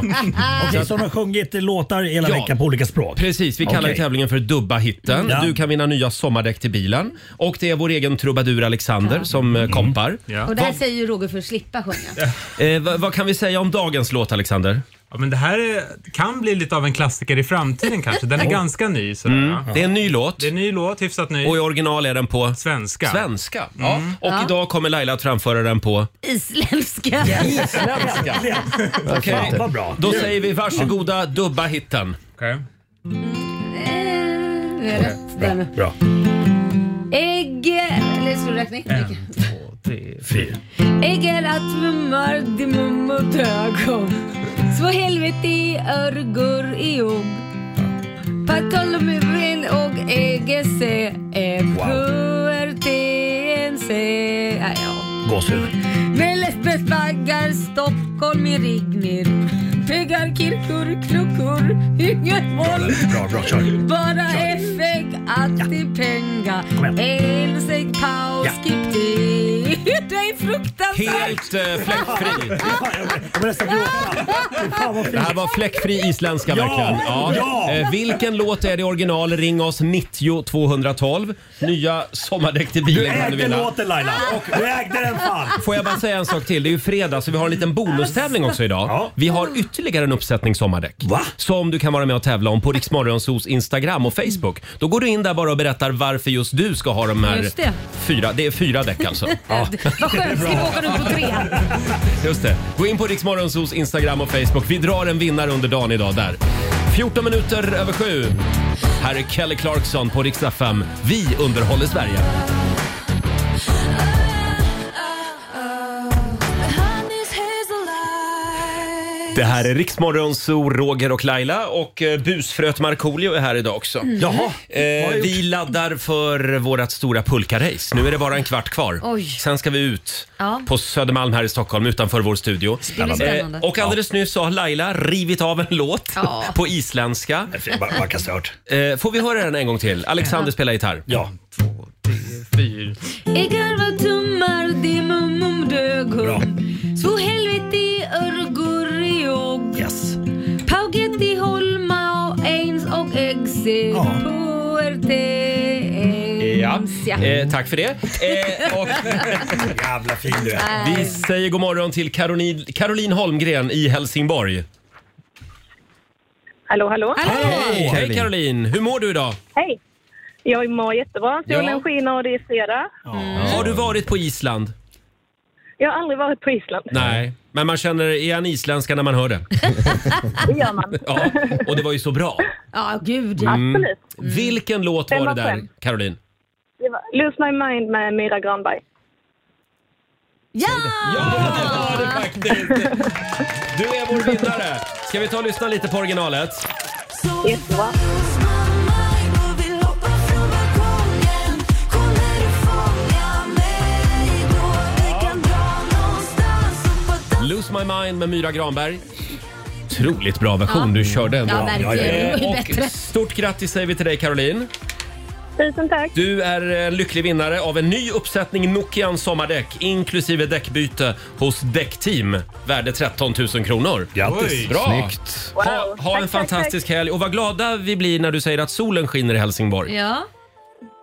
J: Okej, så de har sjungit låtar hela
A: Ja.
J: veckan på olika språk.
A: Precis, vi kallar
J: Okej.
A: tävlingen för Dubba hitten.
J: Ja.
A: Du kan vinna nya sommardäck till bilen. Och det är vår egen trubadur Alexander som eh, kompar.
H: Mm. Ja.
B: Och det här säger ju Roger för att slippa sjunga.
A: Eh, vad, vad kan vi säga om dagens låt Alexander?
H: Ja, men det här är, kan bli lite av en klassiker i framtiden kanske. Den är
A: Oj.
H: ganska ny. Sådär,
A: Mm.
H: ja.
A: Det är en ny låt.
H: Det är en ny låt, hyfsat ny.
A: Och i original är den på?
H: Svenska. Mm.
A: Svenska.
H: Ja.
A: Ja. Och
B: Ja.
A: idag kommer Laila att framföra den på?
B: Isländska. Eh,
A: Isländska. Okej.
J: Fan, vad bra.
A: Då säger vi varsågoda, dubba hitten.
B: Det är rätt. Där med.
A: Bra.
B: Ägg... Eller ska du räkna in? Ägg är att mummar de mummor tögum. Svå helvete i örgur i ung. Bartolomuvin och EGC är
J: Wow.
B: puertense. Ja, ja.
J: Gåshud.
B: Med lesbiskt baggar Stockholm i Rignir. Piggar kirkor, klockor, inget mål.
J: Bra, bra, kör.
B: Bara effek alltid pengar. Elsek paus, skip till. Det är fruktansvärt.
A: Helt eh, fläckfri.
J: Jag vill nästan gråta. Fy Fan vad
A: Det
J: fint.
A: här var fläckfri isländska
J: Ja,
A: verkligen.
J: ja.
A: Eh, vilken låt är det i original? Ring oss 90 212. Nya sommardäck till bilen
J: Du
A: kan du
J: ägde
A: vinna.
J: låten Laila.
A: Ah.
J: Du ägde den fan.
A: Får jag bara säga en sak till? Det är ju fredag så vi har en liten bonustävling också idag.
J: Ja.
A: Vi har ytterligare en uppsättning sommardäck.
J: Va?
A: Som du kan vara med och tävla om på Riksmorgonsos Instagram och Facebook. Då går du in där bara och berättar varför just du ska ha de här
B: Just det.
A: fyra. Det är fyra däck alltså. Ja,
B: Vad skönt, slippa åka runt på tre.
A: just det. Gå in på Riksmorgonsos Instagram och Facebook. Vi drar en vinnare under dagen idag där. 14 minuter över sju. Här är Kelly Clarkson på Riksdag 5. Vi underhåller Sverige. Det här är Riksmorgonso, Roger och Laila och eh, busfröt Markoolio är här idag också.
B: Mm.
J: Jaha.
A: Eh, vi laddar för vårt stora pulkarace. Nu är det bara en kvart kvar.
B: Oj.
A: Sen ska vi ut
B: Ja.
A: på Södermalm här i Stockholm utanför vår studio. Eh,
B: Spännande. spännande.
A: och alldeles nyss har Laila rivit av en låt
B: Ja.
A: på isländska.
J: Fy, Vad vad kassört.
A: Eh, får vi höra den en gång till? Alexander spelar gitarr.
J: Ja.
B: Eggar var tummar, det mum om
J: Bra.
B: dögum. Svo helvete örgur i og.
J: Yes.
B: Pauget i Holma och Eins och Exi.
J: Ja.
B: Puerte
A: Ja.
B: Eins. Ja.
A: Eh, tack för det. Eh, och
J: Jävla fin du är.
A: vi säger god morgon till Caroline, Caroline Holmgren i Helsingborg.
F: Hallå, hallå.
A: Hej, hej Caroline! Hur mår du idag?
F: Hej. Jag mår jättebra. Solen
A: Ja.
F: skiner och det är fredag.
A: Har du varit på Island?
F: Jag har aldrig varit på Island.
A: Nej, men man känner igen isländska när man hör det.
F: Det gör man.
A: Ja, och det var ju så bra.
B: Ja, gud.
A: Mm.
F: Absolut.
A: Vilken låt
F: Den
A: var det
F: var
A: där,
F: skön.
A: Caroline?
F: Det var Lose My Mind med Mira Granberg.
B: Ja!
A: Ja, det var det faktiskt! Du är vår vinnare! Ska vi ta och lyssna lite på originalet?
F: Jättebra.
A: Lose My Mind med Myra Granberg. Otroligt bra version du körde ändå.
B: Ja, verkligen. Det var ju bättre.
A: Och stort grattis säger vi till dig Caroline.
F: Tusen tack.
A: Du är en lycklig vinnare av en ny uppsättning Nokian sommardäck inklusive däckbyte hos Däckteam. Värde 13 000 kronor.
J: Grattis.
A: Bra!
C: Snyggt.
A: Ha,
F: Wow.
A: ha en
F: Tack, tack,
A: fantastisk helg och vad glada vi blir när du säger att solen skiner i Helsingborg.
B: Ja.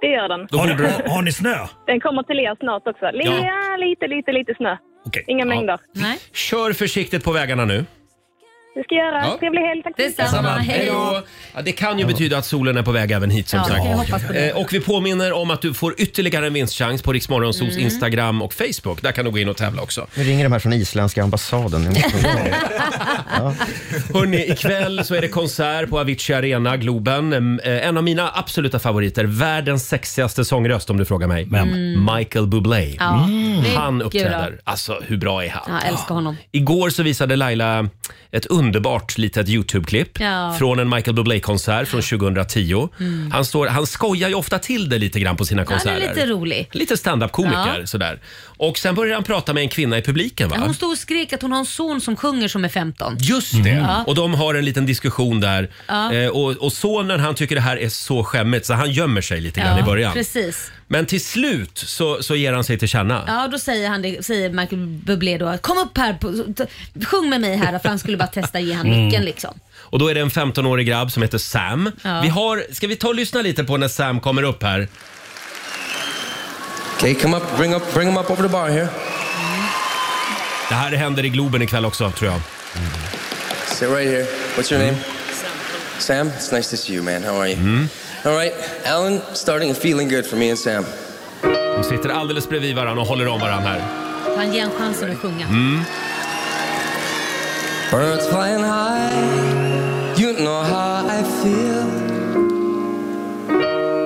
F: Det gör den.
A: Då
J: Har
A: borde
J: ni,
A: du...
J: har ni snö?
F: Den kommer till er snart också. Lite,
A: Ja.
F: lite, lite, lite snö.
J: Okej.
F: Inga
A: Ja.
F: mängder.
B: Nej.
A: Kör försiktigt på vägarna nu.
F: Det ska jag göra.
A: Ja.
F: Trevlig helg. Tack så mycket.
B: Detsamma. Hej då.
A: Ja, det kan ju betyda att solen är på väg även hit som
B: Ja, vi kan ju
A: sagt.
B: hoppas på det.
A: Eh, Och vi påminner om att du får ytterligare en vinstchans på Riksmorgonsols
B: Mm.
A: Instagram och Facebook. Där kan du gå in och tävla också.
C: Nu ringer de här från isländska ambassaden. Jag måste fråga er.
A: Hörni, ikväll så är det konsert på Avicii Arena, Globen. Em, eh, En av mina absoluta favoriter. Världens sexigaste sångröst om du frågar mig. Vem? Michael Bublé.
B: Mm. Ja. Mycket
A: Mm. Han
B: bra.
A: uppträder. Alltså, hur bra är han? Ah.
B: Ja, jag älskar honom.
A: Igår så visade Laila ett underbart litet YouTube-klipp
B: Ja.
A: från en Michael Bublé-konsert från 2010. Han, står, han skojar ju ofta till det lite grann på sina
B: Han
A: konserter.
B: är lite rolig.
A: Lite stand-up-komiker
B: Ja.
A: sådär. Och sen började han prata med en kvinna i publiken va?
B: Hon stod och skrek att hon har en son som sjunger som är 15.
A: Just det. Och de har en liten diskussion där.
B: Ja.
A: Eh, och, och sonen han tycker det här är så skämmigt så han gömmer sig lite grann i början.
B: Precis.
A: Men till slut så, så ger han sig till känna.
B: Ja, då säger, han det, säger Michael Bublé då kom upp här, på, t- sjung med mig här för han skulle bara testa ge han
A: Mm.
B: micken liksom.
A: Och då är det en 15-årig grabb som heter Sam.
B: Ja.
A: Vi har, ska vi ta och lyssna lite på när Sam kommer upp här?
E: Okay, come up, bring up, bring them up over the bar here.
A: Det här händer i Globen ikväll också tror jag.
M: Sit right here. What's your name? Sam. Sam? It's nice to see you, man. How are you? All right. Alan, starting and feeling good for me and Sam.
A: De sitter alldeles bredvid varandra och håller om varandra här.
B: Han ger en chansen att sjunga.
A: Mm.
M: Birds flying high, you know how I feel.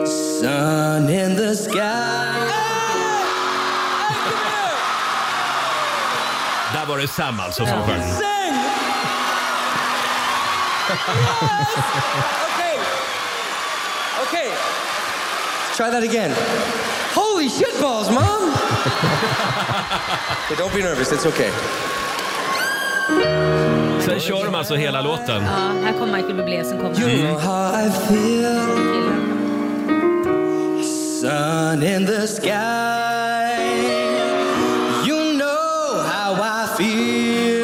M: Sun in the sky.
A: Där var det Sam alltså som sjöng.
M: Sing! Okay. Okay. Try that again. Holy shit balls, mom! okay, don't be nervous. It's okay.
A: Sen kör de alltså hela låten.
B: Ja, här kommer Michael Bublé som kommer. Mm.
M: You know how I feel. Sun in the sky. You know how I feel.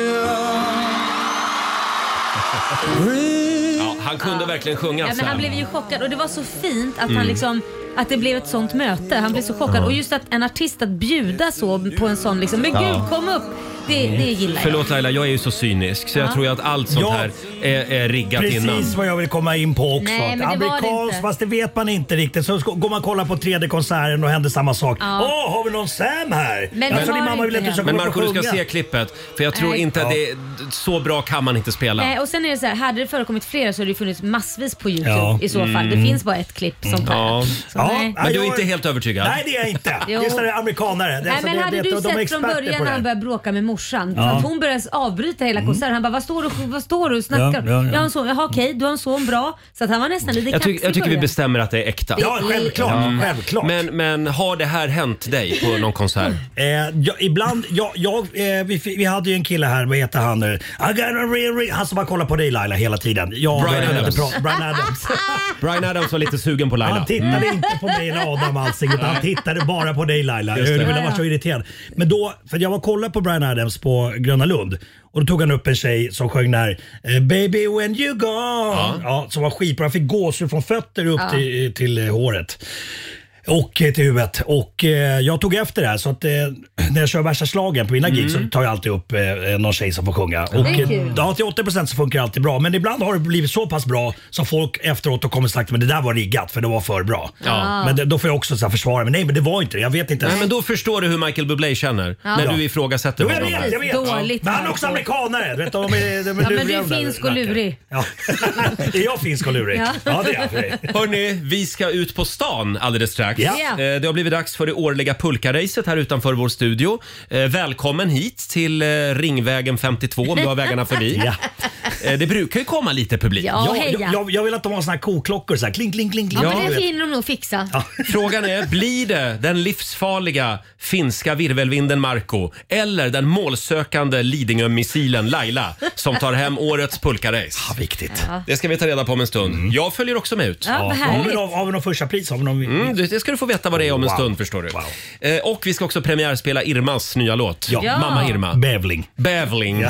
A: Ja, han kunde verkligen sjunga
B: Ja, men han
A: Sam.
B: blev ju chockad och det var så fint att
A: Mm.
B: han liksom att det blev ett sånt möte. Han blev så chockad. Och just att en artist att bjuda så på en sån liksom, men
A: Ja.
B: gud kom upp! Det, det gillar jag.
A: Förlåt Laila, jag är ju så cynisk så jag
B: Ja.
A: tror ju att allt sånt
B: Ja.
A: här är, är riggat
J: Precis
A: innan.
J: vad jag vill komma in på också.
B: Nej, men det var det
J: Amerikanskt,
B: inte.
J: fast det vet man inte riktigt. Så sk- går man och kollar på tredje konserten och händer samma sak. Åh,
B: Ja.
J: har vi någon Sam här?
B: Men det
J: alltså,
B: var
J: din mamma vill
B: inte
J: att du ska
B: det.
A: Men
J: komma upp
A: Marco
J: och
A: du ska
J: sjunga.
A: se klippet för jag tror
B: Nej.
A: inte
B: Ja.
A: att det, så bra kan man inte spela.
B: Nej, Eh, och sen är det så här, hade det förekommit fler så hade det funnits massvis på Youtube
A: Ja.
B: i så fall. Det
A: Mm.
B: finns bara ett klipp som
A: Mm. Ja.
B: Så, Ja, nej.
A: Men du är
B: jag-
A: inte helt övertygad?
J: Nej, det är jag inte.
B: Jo.
J: Just det, det är amerikanare. Det är
B: Nej,
J: alltså-
B: men
J: det-
B: hade
J: det-
B: du
J: de är
B: sett från
J: experter på
B: början
J: det
B: när
J: här.
B: han började bråka med morsan?
J: Ja.
B: För att hon började avbryta hela konserten. Han bara, vad står du, vad står du och snackar
A: Mm.
B: om?
A: Ja, ja, ja.
B: Jag har en son, jaha okej, du har en son, bra. Så att han var nästan lite
A: Jag,
B: kaxig
A: tyck, jag tycker
B: i
A: vi
B: början.
A: bestämmer att det är äkta.
B: Ja, självklart,
J: självklart.
A: Mm. Men, men har det här hänt dig på någon konsert?
J: Eh, jag, ibland, jag, jag, eh, vi, vi hade ju en kille här, vad heter han nu? I got a real, real, han som bara kollar på dig Laila hela tiden. Jag,
A: Bryan
J: jag- jag-
A: Adams.
J: pra- Bryan Adams.
A: Brian Adams var lite sugen på Laila. Mm.
J: Han tittade inte på mig eller Adam alls. inget. Han tittade bara på dig Laila. Jag
A: Just det.
J: ville vara så irriterad. Men då, för jag var och kollade på Bryan Adams på Gröna Lund och då tog han upp en tjej som sjöng där eh, “Baby when you gone” ja. som var skitbra. Han fick gåshud från fötter upp
N: Ja.
J: till, till eh, håret. Och eh, till huvudet. Och eh, jag tog efter det här så att eh, när jag kör värsta slagen på mina gig
A: Mm.
J: så tar jag alltid upp eh, någon tjej som får sjunga.
N: Det är
J: Och, eh,
N: kul.
J: Ja, till 80% så funkar det alltid bra. Men ibland har det blivit så pass bra så folk efteråt har kommit och sagt men det där var riggat för det var för bra.
A: Ja.
J: Men det, då får jag också så här försvara mig. Nej men det var inte det. Jag vet inte.
A: Nej, men då förstår du hur Michael Bublé känner.
J: Ja.
A: När
J: Ja.
A: du ifrågasätter
J: Jo, jag
A: honom.
J: vet, jag vet.
B: Dåligt.
J: Men han är också amerikanare. Du Vet, de är, de är
B: Ja, men du
J: luriga,
B: är
J: de där
B: finsk och
J: rackarna.
B: lurig.
J: Är jag finsk och lurig?
B: Ja.
J: Ja, det är jag. för dig.
A: Hörni, vi ska ut på stan alldeles strax.
J: Ja.
A: Eh, Det har blivit dags för det årliga pulkaracet här utanför vår studio. Eh, Välkommen hit till eh, Ringvägen 52 om du har vägarna förbi.
J: Ja.
A: Eh, Det brukar ju komma lite publik.
J: jag, jag, jag, jag vill att de har såna här koklockor. Så här, kling, kling, kling,
B: Ja,
J: kling.
B: men det hinner de nog fixa.
A: Frågan är, blir det den livsfarliga finska virvelvinden Marco eller den målsökande Lidingö-missilen Laila som tar hem årets pulkarace? Ja,
J: viktigt.
B: Ja.
A: Det ska vi ta reda på om en stund. Jag följer också med ut.
B: Ja, vad
J: Har vi
B: härligt.
J: någon, har vi någon första pris? Har vi någon...
A: Mm, det det ska du få veta vad det är om en
J: Wow.
A: stund förstår du. Eh, och vi ska också premiärspela Irmas nya låt.
J: Ja. Ja.
A: Mamma Irma.
J: Bävling.
A: Bävling.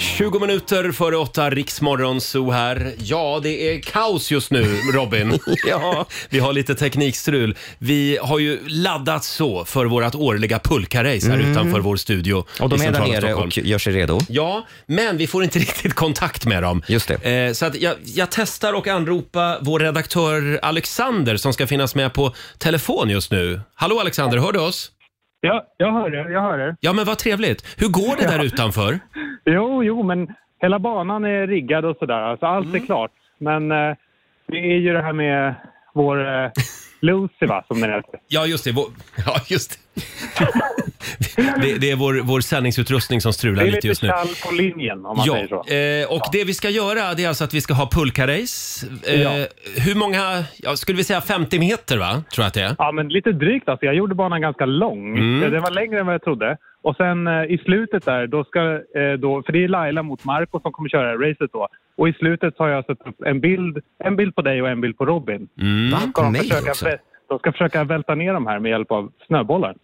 A: 20 minuter före åtta, Riksmorgon Zoo här. Ja, det är kaos just nu, Robin. ja. Vi har lite teknikstrul. Vi har ju laddat så för vårt årliga pulkarace här
C: Mm.
A: utanför vår studio
C: Och de
A: i
C: är där
A: centrala
C: nere
A: Stockholm.
C: och gör sig redo.
A: Ja, men vi får inte riktigt kontakt med dem. Just Eh, så att jag, jag testar och anropa vår redaktör Alexander som ska finnas med på telefon just nu. Hallå Alexander, hör du oss?
N: Ja, jag hör er. Jag hör er.
A: Ja, men vad trevligt. Hur går det där
N: Ja.
A: utanför?
N: Jo, jo, men hela banan är riggad och sådär. Alltså, allt
A: Mm.
N: är klart. Men eh, det är ju det här med vår eh, Lucy, va, som den heter.
A: Ja, just det. Vår, ja, just det. det, det är vår, vår sändningsutrustning som
N: Det
A: strular
N: är
A: lite
N: lite
A: just nu.
N: kall på linjen, om man
A: Ja,
N: säger så.
A: eh, och det vi ska göra det är alltså att vi ska ha pulkarace. Eh,
N: Ja.
A: Hur många, ja, skulle vi säga 50 meter va? Tror jag att det är.
N: Ja, men lite drygt alltså. Jag gjorde banan ganska lång.
A: Mm.
N: Eh, Den var längre än vad jag trodde. Och sen eh, i slutet där, då ska, eh, då, för det är Laila mot Marco som kommer köra racet då. Och i slutet så har jag satt upp en bild, en bild på dig och en bild på Robin.
A: Mm.
N: Då Ska de, försöka, vä- de ska försöka välta ner de här med hjälp av snöbollar.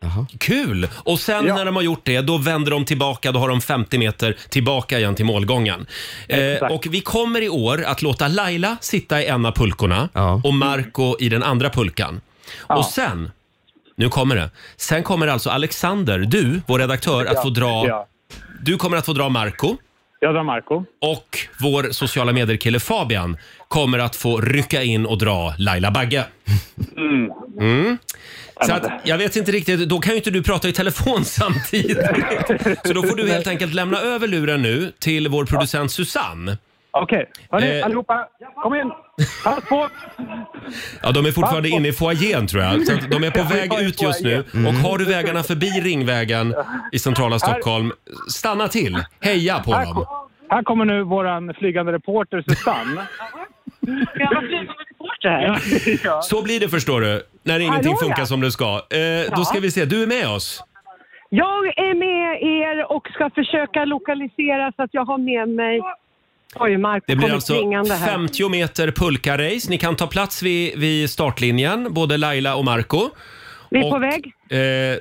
A: Kul! Och sen när de har gjort det, då vänder de tillbaka. Då har de 50 meter tillbaka igen till målgången. Eh, och vi kommer i år att låta Laila sitta i ena pulkorna och Marco i den andra pulkan. Och sen, nu kommer det. Sen kommer alltså Alexander, du, vår redaktör, att
N: Ja,
A: få dra
N: ja.
A: Du kommer att få dra Marco.
N: Jag drar Marco.
A: Och vår sociala medier-kille Fabian kommer att få rycka in och dra Laila Bagge. Mm. Så att, jag vet inte riktigt, då kan ju inte du prata i telefon samtidigt. Så då får du helt enkelt lämna över luren nu till vår producent Susanne.
N: Okej, hörni
A: Eh.
N: allihopa. Kom in! Pass på!
A: Ja, de är fortfarande inne i foajén tror jag. Så att de är på väg ut just nu. Och har
O: Mm.
A: du vägarna förbi Ringvägen i centrala Stockholm, stanna till. Heja på dem.
N: Här kommer nu våran flygande reporter Susanne. Ja, ja.
A: Så blir det förstår du, när ingenting
O: Hallå, ja.
A: funkar som det ska. Eh, då
O: Ja.
A: ska vi se, du är med oss.
O: Jag är med er och ska försöka lokalisera så att jag har med mig... Oj, Marco
A: Det blir
O: kommer
A: alltså
O: springande här.
A: 50 meter pulka-race. Ni kan ta plats vid, vid startlinjen, både Laila och Marco.
O: Vi är på
A: Och,
O: väg.
A: Eh,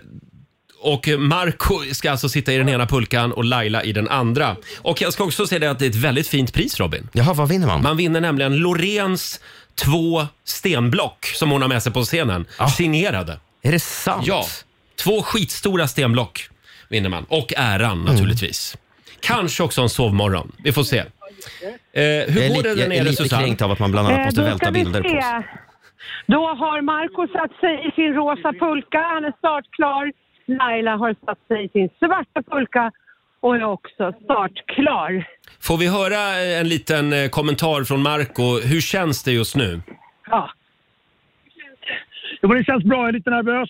A: och Marco ska alltså sitta i den ena pulkan och Laila i den andra. Och jag ska också säga det att det är ett väldigt fint pris Robin.
C: Jaha, vad vinner man?
A: Man vinner nämligen Lorens två stenblock som hon har med sig på scenen. Signerade.
C: Är det sant?
A: Ja. Två skitstora stenblock vinner man. Och äran
C: Mm.
A: naturligtvis. Kanske också en sovmorgon. Vi får se. Eh, hur
C: Jag är
A: går det
C: li-
A: där
C: jag är
A: nere
C: lite
A: Susanne?
C: kränkt av att man bland annat
O: Eh, då ska vi se. Då har Marco satt sig i sin rosa pulka. Han är startklar. Laila har satt sig i sin svarta pulka och är också startklar.
A: Får vi höra eh, en liten eh, kommentar från Marco Hur känns det just nu?
N: Ja. Jo, men det känns bra. Jag är lite nervös.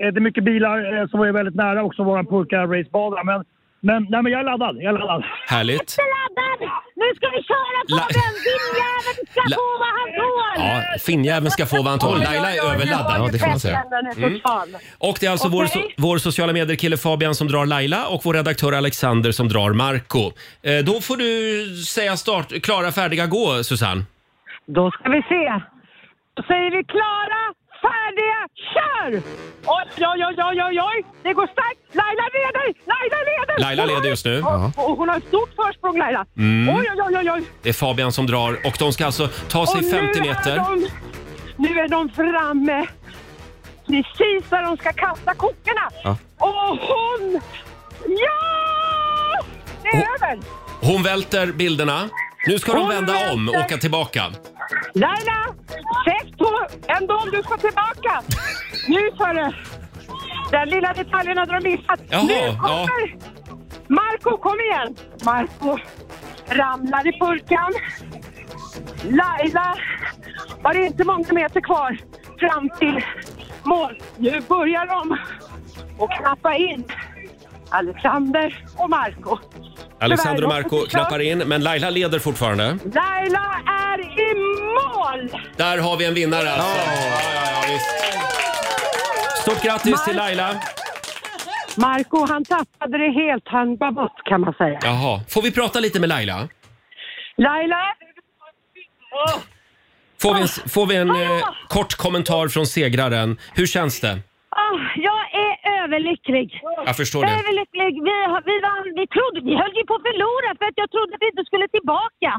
N: Eh, Det är mycket bilar, eh, så var jag väldigt nära också våran pulka racebana. Men, men, nej, men jag är laddad. Jag är laddad.
A: Härligt.
P: laddad! Nu ska vi köra på
A: La-
P: den! Vindjäveln ska
A: La-
P: få vad han tål!
A: Ja, Finnjäveln ska få vad han tål. Laila är överladdad. Mm. Och det är alltså vår,
P: Okej.
A: so- vår sociala medier-kille Fabian som drar Laila och vår redaktör Alexander som drar Marco. Eh, då får du säga start, klara, färdiga, gå Susanne.
O: Då ska vi se. Då säger vi klara, färdiga, kör! Oj, oj, oj, oj, oj, oj. Det går starkt. Laila leder! Laila leder!
A: Laila
O: Hon har
A: leder
O: ett-
A: just nu.
O: Och- och Hon har ett stort försprång, Laila.
A: Mm.
O: Oj, oj, oj, oj, oj.
A: Det är Fabian som drar och de ska alltså ta sig
O: Och nu
A: 50
O: Är
A: meter.
O: de, nu är de framme precis där de ska kasta kokorna.
A: Ja.
O: Och hon... Ja! Det är över!
A: Hon välter bilderna. Nu ska de
O: Hon
A: vända om och
O: välter.
A: åka tillbaka.
O: Laila! Sex på ändå om du ska tillbaka. Nu före. Den lilla detaljen hade de missat.
P: Jaha,
O: nu kommer... Marco, kom igen! Marco ramlar i pulkan. Laila har inte många meter kvar fram till mål. Nu börjar de att knappa in. Alexander och Marco.
A: Alexander och
O: Tyvärr,
A: Marco knappar in, men Laila leder fortfarande.
O: Laila är i mål!
A: Där har vi en vinnare alltså. Ja, ja, ja, visst. Stort grattis till Laila.
O: Marco, han tappade det helt. Han var bort kan man säga.
A: Jaha. Får vi prata lite med Laila?
O: Laila?
A: Får vi en, får vi en eh, kort kommentar från segraren? Hur känns det?
P: Ah, jag är överlycklig.
A: Jag förstår det.
P: Överlycklig. Vi, har- vi vann. Vi trodde, vi höll ju på att förlora för att jag trodde att vi inte skulle tillbaka.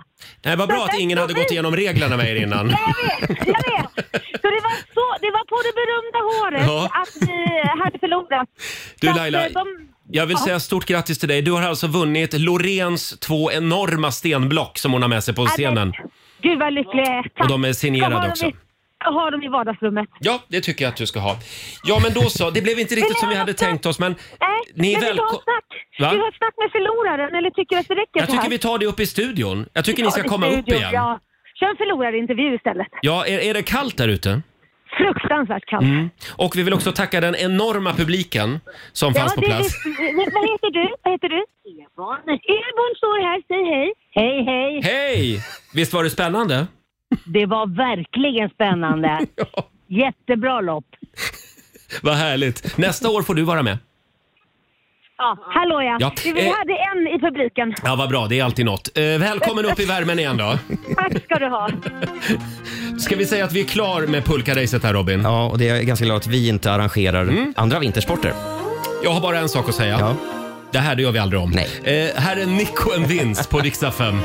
A: Nej, vad bra att ingen hade gått igenom reglerna med er innan.
P: Så det var, så, det var på det berömda håret
A: Ja.
P: att vi hade förlorat.
A: Du
P: Så att,
A: Laila,
P: eh, de-
A: jag vill
P: Ja.
A: säga stort grattis till dig. Du har alltså vunnit Lorens två enorma stenblock som hon har med sig på scenen.
P: Gud vad lycklig jag är. Tack.
A: Och de är signerade
P: Jag har dem
A: också.
P: i- Jag har dem i vardagsrummet.
A: Ja, det tycker jag att du ska ha. Ja, men då så. Det blev inte riktigt som vi hade tänkt oss, men
P: Nej,
A: ni är
P: men vill du ha
A: välkomna.
P: ett snack?
A: Va?
P: Vill du ha ett snack med förloraren eller tycker du att det räcker
A: Jag
P: så här?
A: tycker vi tar det upp i studion. Jag tycker ni
P: Ja,
A: ska
P: det
A: komma
P: är
A: upp
P: ju-
A: igen.
P: Ja. Kör en förlorarintervju istället.
A: Ja, är, är det kallt där ute?
P: Fruktansvärt kallt.
A: Mm. Och vi vill också tacka den enorma publiken som fanns på
P: det är
A: plats.
P: visst- Eh, vad heter du? Vad heter du? Evon. Evon står här, säg hej. Hej, hej.
A: Hej! Visst var det spännande?
P: Det var verkligen spännande. Jättebra lopp.
A: Vad härligt. Nästa år får du vara med.
P: Ja, hallå ja.
A: Ja,
P: Vi
A: eh,
P: hade en i publiken.
A: Ja, vad bra. Det är alltid något. Eh, välkommen upp i värmen igen då.
P: Tack ska du ha.
A: Ska vi säga att vi är klar med pulkaracet här Robin?
C: Ja, och det är jag ganska glad att vi inte arrangerar
A: Mm.
C: andra vintersporter.
A: Jag har bara en sak att säga. Det här det gör vi aldrig om. Eh, här är Nico en vinst på riksdag 5.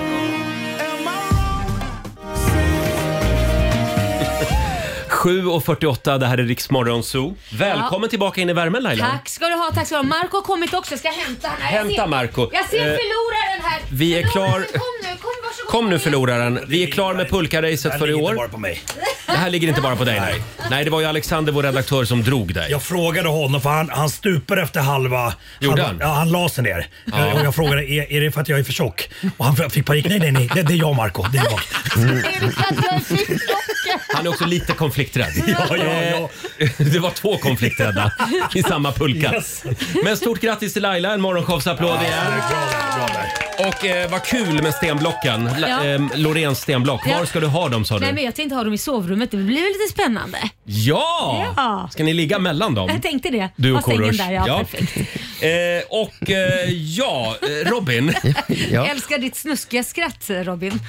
A: 7.48, det här är Riksmorgon Zoo. Välkommen
B: Ja.
A: tillbaka in i värmen Laila.
B: Tack ska du ha, tack ska du ha. Marco har kommit också, jag ska hämta honom. Jag
A: Hämta
B: ser-
A: Marco.
B: Jag ser
A: Eh,
B: förloraren här.
A: vi är
B: Förloraren,
A: klar-
B: Kom nu, kom varsågod.
A: Kom nu förloraren. Vi är klar med pulkaracet för i år. Det här ligger inte bara på dig. Nej. nej, det var ju Alexander, vår redaktör, som drog dig.
J: Jag frågade honom för han, han stupade efter halva...
A: Gjorde han?
J: han? Ja, han la sig ner.
A: Ja.
J: Och jag frågade, är, är det för att jag är för tjock? Och han fick panik. Nej, nej, nej. Det, det är jag Marco. Det är jag.
A: Han är också lite konflikträdd.
J: Ja, ja, ja.
A: Eh, Det var två konflikträdda i samma pulka.
J: Yes.
A: Men stort grattis till Laila, en morgonshowsapplåd igen. Och eh, vad kul med stenblocken. La,
B: Ja.
A: ehm, Loreens stenblock. Var
B: Ja.
A: ska du ha dem sa
B: Nej
A: du?
B: men jag tänkte ha dem i sovrummet, det blir väl lite spännande.
A: Ja!
B: Ja.
A: Ska ni ligga mellan dem?
B: Jag tänkte det.
A: Du och
B: Ha sängen
A: Korosh.
B: där, ja, perfekt.
A: Eh, och eh, ja, eh, Robin.
B: Älskar ditt snuskiga skratt Robin.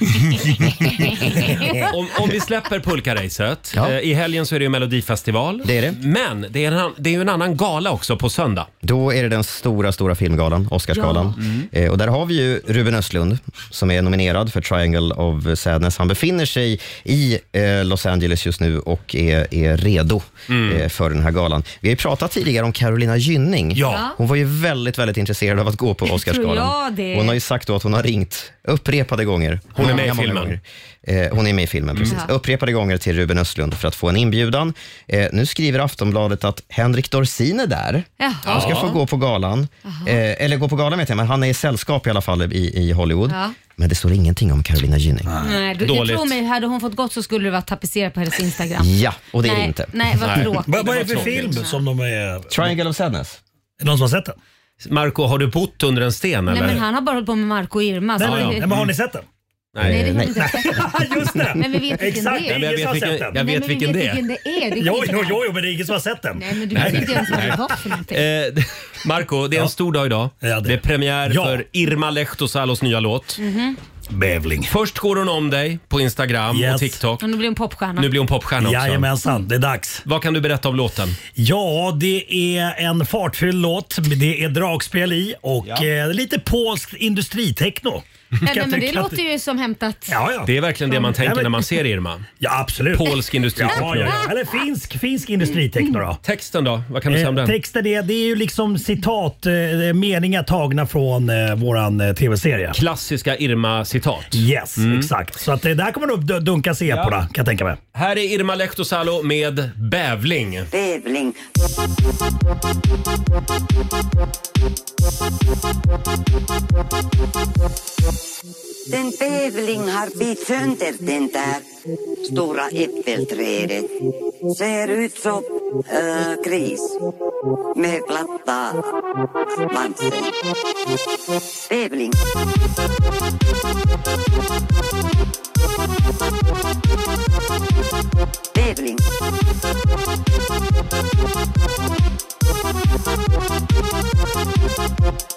A: om, om vi släpper pulkaracet. Eh, I helgen så är det ju Melodifestival. Det är det. Men det är, en, an- det är ju en annan gala också på söndag.
C: Då är det den stora, stora filmgalan, Oscarsgalan.
A: Ja. Mm.
C: Eh, och där har vi ju Ruben Östlund som är nominerad för Triangle of Sadness. Han befinner sig i eh, Los Angeles just nu och är, är redo
A: Mm.
C: eh, för den här galan. Vi har ju pratat tidigare om Carolina Gynning.
B: Ja.
C: Hon var ju väldigt, väldigt intresserad av att gå på
B: Tror
C: Oscarsgalan.
B: jag det.
C: Hon har ju sagt då att hon har ringt upprepade gånger.
A: Hon är med i
C: Många, många
A: filmen.
C: gånger. Eh, Hon är med i filmen, precis.
B: Ja.
C: Upprepade gånger till Ruben Östlund för att få en inbjudan. Eh, Nu skriver Aftonbladet att Henrik Dorsin är där.
B: Jaha.
C: Han ska få gå på galan. Eh, Eller gå på galan vet jag, men han är i sällskap i alla fall i, i Hollywood.
B: Ja.
C: Men det står ingenting om Carolina Gynning.
B: Nej, du, du tror mig, hade hon fått gått så skulle det varit tapetserat på hennes Instagram.
C: Ja, och det är
B: nej,
C: det inte.
B: Nej, vad tråkigt.
J: Vad, vad är det för film som de är...
C: Triangle of Sadness.
J: Är det någon som har sett den?
A: Marco, har du bott under en sten
B: Nej
A: eller?
B: men han har bara hållit på med Marco och Irma. så
A: Nej, men-
B: det-
A: nej, men har ni
J: sett den?
B: Nej, det har vi inte sett.
J: Just det.
B: Men vi vet vilken
J: Exakt,
B: det är.
J: ingen som har sett den.
A: jag vet
B: Nej, men vi
A: vilken det är.
B: vilken det är. Det kan
J: Jo,
B: inte
J: jo,
B: vara.
J: jo, jo, men det är ingen som har sett den.
B: Nej, men du vet inte ens vad det var för någonting.
A: Eh, Marco, det är en stor dag idag. det. är premiär för Irma Lehtosalos nya låt.
J: Mm.
B: Mhm.
J: Bävling.
A: Först går hon om dig på Instagram och
J: Yes.
A: TikTok.
B: Och nu blir hon popstjärna.
A: Nu blir hon popstjärna också.
J: Jajamensan, det är dags.
A: Vad kan du berätta om låten?
J: Ja, det är en fartfylld låt. Det är dragspel i och eh, lite polskt industritechno.
B: Nej,
J: Kan
B: nej, men det
J: tycka att-
B: låter ju som hämtat.
J: Ja, ja.
A: Det är verkligen det man tänker
J: Ja, men-
A: när man ser Irma.
J: Ja, absolut.
A: Polsk industritechno.
J: Ja, ja, ja. Eller finsk, finsk industritechno då.
A: Texten då? Vad kan du säga om den?
J: texten är, det är ju liksom citat, eh, meningar tagna från eh, våran eh, tv-serie.
A: Klassiska Irma-citat.
J: Yes,
A: Mm.
J: exakt. Så att det där kommer nog du- dunkas i epporna kan jag tänka mig.
A: Här är Irma Lehtosalo med Bävling.
O: Bävling. Den bävling har bitit sönder den där stora äppelträdet. Ser ut som eh, gris med platta svansen. Bävling. Bävling.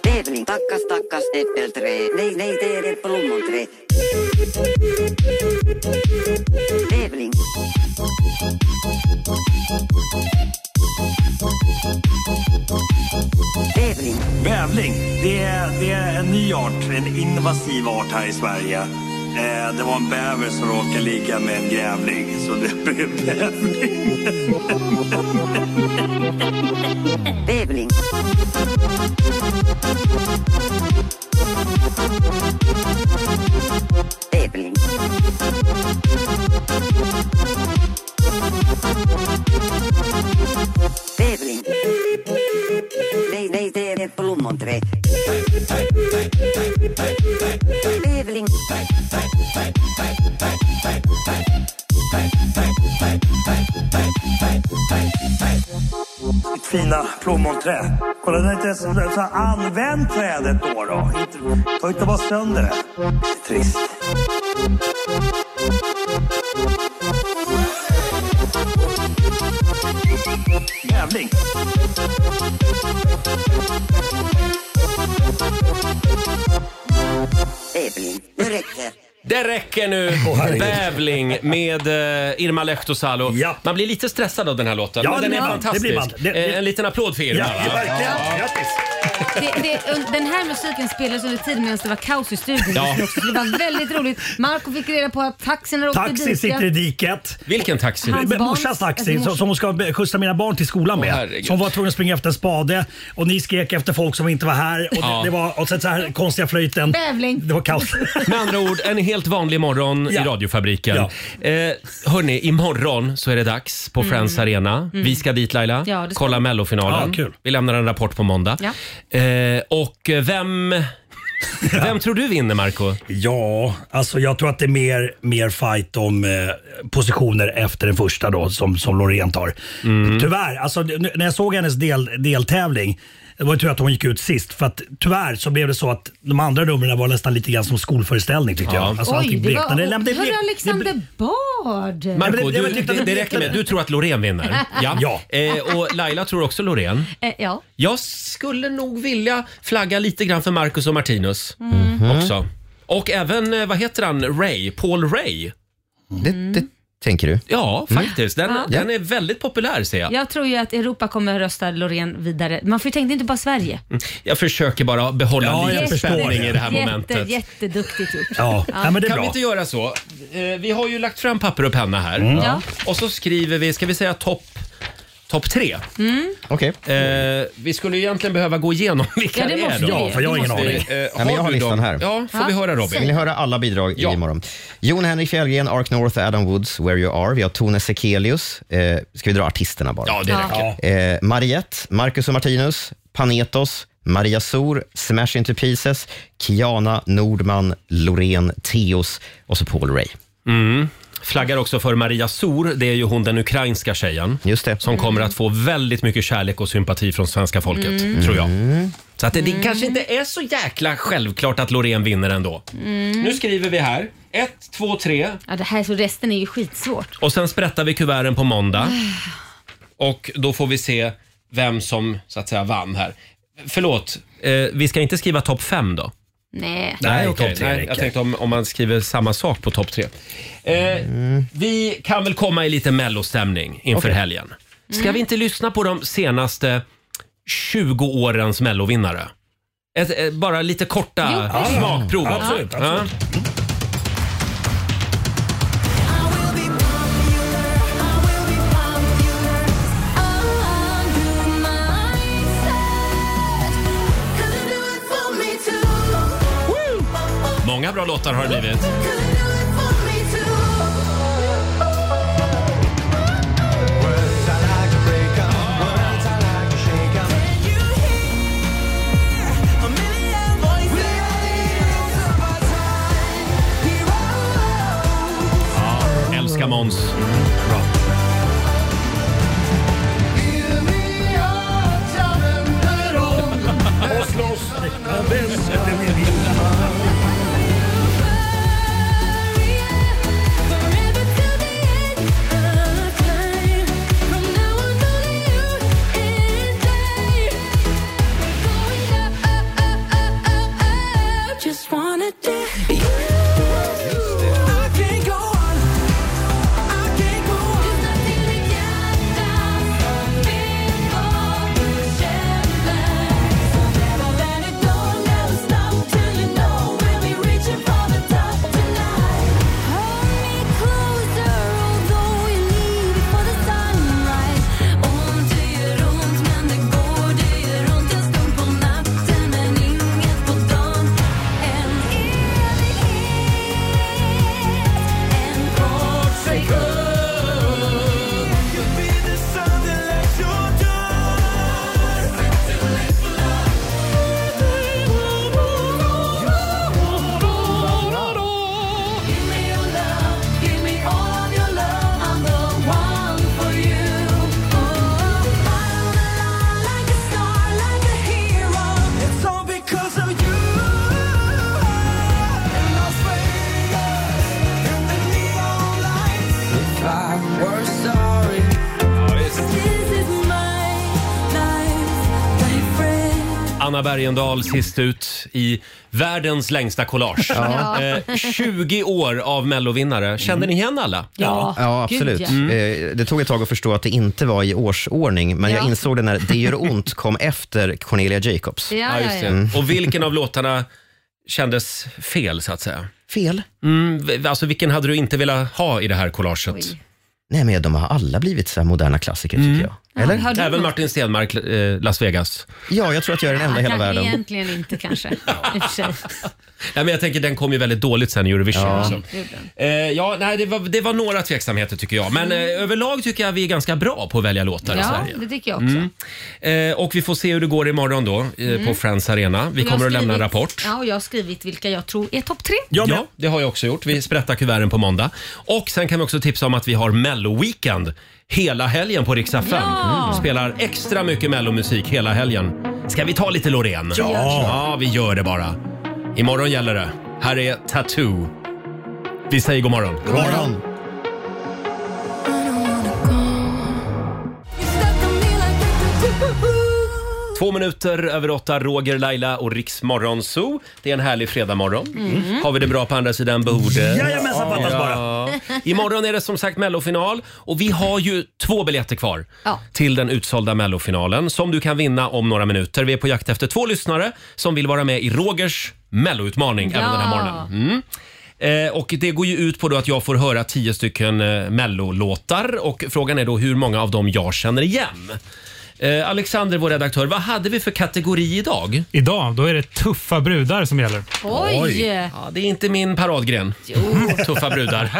O: Bävling, tackas, tackas, äppelträd. Nej, nej, det är ett plommonträd. Bävling. Bävling.
J: Bävling, det är, det är en ny art, en invasiv art här i Sverige. Eh, det var en bäver som råkade ligga med en grävling, så det blev bävling.
O: Bävling. Bävling. Bävling. Nej, nej, det är ett plommonträd. Bävling.
J: Mitt fina plommonträ. Kolla, det är inte så, så använd trädet då. då. Inte- Ta inte bara sönder det. Trist. Jävling.
O: Bävling. Nu räcker
A: Det räcker nu. Bävling med eh, Irma Lehtosalo. Man blir lite stressad av den här låten.
J: Ja,
A: men den
J: det
A: är
J: blir man.
A: fantastisk.
J: Det blir man. Det-
A: Eh, En liten applåd för Irma.
J: Ja,
A: va?
J: verkligen.
B: Det, det, den här musiken spelades under tiden medan det var kaos i studion.
A: Ja.
B: Så Det var väldigt roligt. Marco fick reda på att taxin har åkt i
J: Taxi
B: diket.
J: sitter i diket.
A: Vilken taxi?
B: Hans barns-
J: Morsans taxi
B: alltså
J: som,
B: mors-
J: som hon ska be- skjutsa mina barn till skolan
A: Åh,
J: med.
A: herregud.
J: som var tvungen att springa efter en spade och ni skrek efter folk som inte var här. Och,
A: Ja.
J: det, det var, och sen så här konstiga flöjten.
B: Bävling.
J: Det var kaos.
A: Med andra ord, en helt vanlig morgon i radiofabriken. Eh, hörni, imorgon så är det dags på
B: Mm.
A: Friends Arena.
B: Mm.
A: Vi ska dit Laila,
B: Ja, det ska
A: kolla
B: vi.
A: mellofinalen.
J: Ja, kul.
A: Vi lämnar en rapport på måndag. Eh, och vem, vem tror du vinner Marco?
J: Ja, alltså jag tror att det är mer, mer fight om eh, positioner efter den första då som, som Loreen tar.
A: Mm.
J: Tyvärr, alltså n- när jag såg hennes del, deltävling det var ju tur att hon gick ut sist för att tyvärr så blev det så att de andra numren var nästan lite grann som skolföreställning tyckte
A: Ja.
J: jag. Alltså,
B: Oj,
J: allting
B: det
J: bleknade.
B: var...
J: Nej, men det
B: Hörru
J: blek-
B: Alexander Bard!
A: Marco, du, det, det räcker med. Du tror att Loreen vinner.
J: Ja.
A: Eh, och Laila tror också Loreen.
B: Eh, ja.
A: Jag skulle nog vilja flagga lite grann för Marcus och Martinus
B: Mm.
A: också. Och även, eh, vad heter han, Ray? Paul Ray?
B: Mm.
C: Det, det tänker du?
A: Ja, faktiskt. Den,
B: Ja.
A: den är väldigt populär ser jag.
B: Jag tror ju att Europa kommer rösta Loreen vidare. Man får ju tänka, det är inte bara Sverige.
A: Mm. Jag försöker bara behålla
J: Ja, jag
A: lite
J: förstår
A: spänning
J: det.
A: i det här
B: Jätte,
A: momentet.
B: Jätteduktigt gjort.
J: Ja. Ja, men det är
A: kan
J: bra.
A: vi inte göra så? Eh, Vi har ju lagt fram papper och penna här.
J: Mm.
B: Ja.
A: Och så skriver vi, ska vi säga topp topp tre?
B: Mm.
C: Okej.
A: Eh, vi skulle ju egentligen behöva gå igenom vilka
B: Ja, det
A: det, är
B: måste
A: då.
B: vi. Ja, för jag har ingen
A: Måste vi.
C: aning.
A: Eh,
C: Nej, men jag har
A: du
C: listan
A: dem?
C: här.
A: Ja, får vi höra Robin?
C: Vill ni höra alla bidrag i imorgon? Jon Henrik Fjällgren, Ark North, Adam Woods, Where You Are. Vi har Tone Sekelius. Eh, ska vi dra artisterna bara?
A: Ja, det Ja.
C: Eh, Mariette, Marcus och Martinus, Panetos, Maria Sor, Smash Into Pieces, Kiana Nordman, Loreen Theos och så Paul Ray.
A: Mm. Flaggar också för Maria Sor, det är ju hon den ukrainska tjejen.
C: Just det.
A: Som kommer att få väldigt mycket kärlek och sympati från svenska folket,
B: Mm.
A: tror jag. Så att det, det kanske inte är så jäkla självklart att Loreen vinner ändå.
B: Mm.
A: Nu skriver vi här. Ett, två, tre.
B: Ja, det här, så resten är ju skitsvårt.
A: Och sen sprättar vi kuverten på måndag. Och då får vi se vem som så att säga vann här. Förlåt, eh, vi ska inte skriva topp fem då?
B: Nej.
A: okej. Nej, jag tänkte om, om man skriver samma sak på topp tre. Eh, Vi kan väl komma i lite mellostämning inför
C: Okej.
A: helgen. Ska vi inte lyssna på de senaste 20 årens mellovinnare? Ett, eh, bara lite korta
J: visst.
A: smakprov.
J: Ja,
A: också.
J: absolut,
A: Ja. Många bra låtar har det blivit. Älskar Måns. Anna Bergendahl sist ut i världens längsta collage.
C: Ja.
A: Eh, 20 år av mellovinnare. Kände ni igen alla?
C: ja absolut. Eh, Det tog ett tag att förstå att det inte var i årsordning, men jag
A: Ja.
C: insåg det när Det gör ont kom efter Cornelia Jacobs.
A: just det. Och vilken av låtarna kändes fel så att säga?
C: Fel?
A: Mm, v- alltså vilken hade du inte velat ha i det här collaget?
C: Nej, men de har alla blivit så här moderna klassiker tycker jag. Eller?
B: har du
A: Även
B: något?
A: Martin Stenmark, eh, Las Vegas.
C: Ja, jag tror att jag är den enda i hela
B: Kanske
A: världen.
B: egentligen inte kanske. I och för sig.
A: Nej, men jag tänker den kom ju väldigt dåligt sen i Eurovision. också.
B: det gjorde den.
A: Eh, ja, nej, det, var, det var några tveksamheter tycker jag. Men eh, överlag tycker jag vi är ganska bra på att välja låtar i
B: Ja,
A: Sverige.
B: det tycker jag också.
A: Mm. Eh, och vi får se hur det går imorgon då eh,
B: Mm.
A: på Friends Arena. Vi
B: Jag har
A: kommer att lämna en
B: skrivit-
A: rapport.
B: Ja, och jag har skrivit vilka jag tror är topp tre.
A: Ja, det har jag också gjort. Vi sprättar kuverten på måndag. Och sen kan vi också tipsa om att vi har Mello-weekend hela helgen på Rix FM.
B: Ja!
A: Mm. Spelar extra mycket Mello-musik hela helgen. Ska vi ta lite Loreen?
B: Ja.
A: ja, vi gör det bara. Imorgon gäller det. Här är Tattoo. Vi säger god morgon. God morgon. Två minuter över åtta, Roger, Laila och Riks Morgonzoo. Det är en härlig fredagmorgon.
J: Mm.
A: Har vi det bra på andra sidan bordet?
J: Jajamensan, fattas
A: Ja. Imorgon är det som sagt mellofinal och vi har ju två biljetter kvar
B: Ja.
A: till den utsålda mellofinalen som du kan vinna om några minuter. Vi är på jakt efter två lyssnare som vill vara med i Rogers melloutmaning även
B: Ja.
A: den här morgonen. Mm. Eh, och det går ju ut på då att jag får höra tio stycken eh, mellolåtar och frågan är då hur många av dem jag känner igen. Eh, Alexander, vår redaktör, vad hade vi för kategori idag?
H: Idag, då är det tuffa brudar som gäller.
B: Oj! eh,
A: Ja, det är inte min paradgren. Tuffa brudar.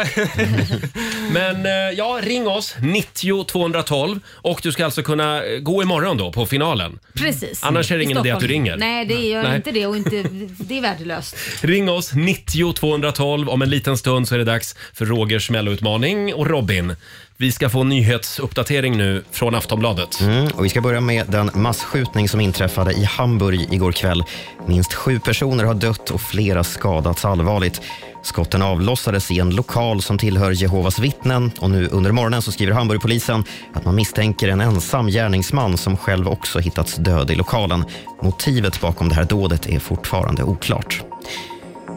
A: Men eh, ja, ring oss, 90 212 och du ska alltså kunna eh, gå imorgon då på finalen.
B: Precis.
A: Annars är det
B: I
A: ingen idé att du
B: Stockholm.
A: ringer.
B: Nej, det gör
A: Nej.
B: inte det och inte, det är värdelöst.
A: Ring oss, 90 212. Om en liten stund så är det dags för Rogers melloutmaning och Robin. Vi ska få en nyhetsuppdatering nu från Aftonbladet.
C: Mm, och vi ska börja med den masskjutning som inträffade i Hamburg igår kväll. Minst sju personer har dött och flera skadats allvarligt. Skotten avlossades i en lokal som tillhör Jehovas vittnen och nu under morgonen så skriver Hamburgpolisen att man misstänker en ensam gärningsman som själv också hittats död i lokalen. Motivet bakom det här dådet är fortfarande oklart.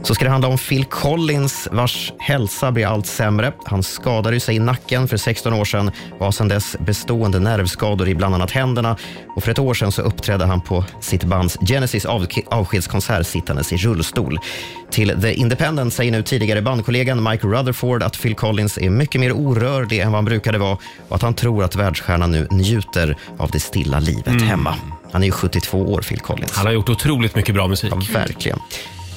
C: Så ska det handla om Phil Collins vars hälsa blir allt sämre. Han skadade ju sig i nacken för 16 år sedan och har sedan dess bestående nervskador i bland annat händerna. Och för ett år sedan så uppträdde han på sitt bands Genesis avk- avskedskonsert sittandes i rullstol. Till The Independent säger nu tidigare bandkollegan Mike Rutherford att Phil Collins är mycket mer orörlig än vad han brukade vara och att han tror att världsstjärnan nu njuter av det stilla livet hemma. Han är ju 72 år, Phil Collins.
A: Han har gjort otroligt mycket bra musik.
C: Ja, verkligen.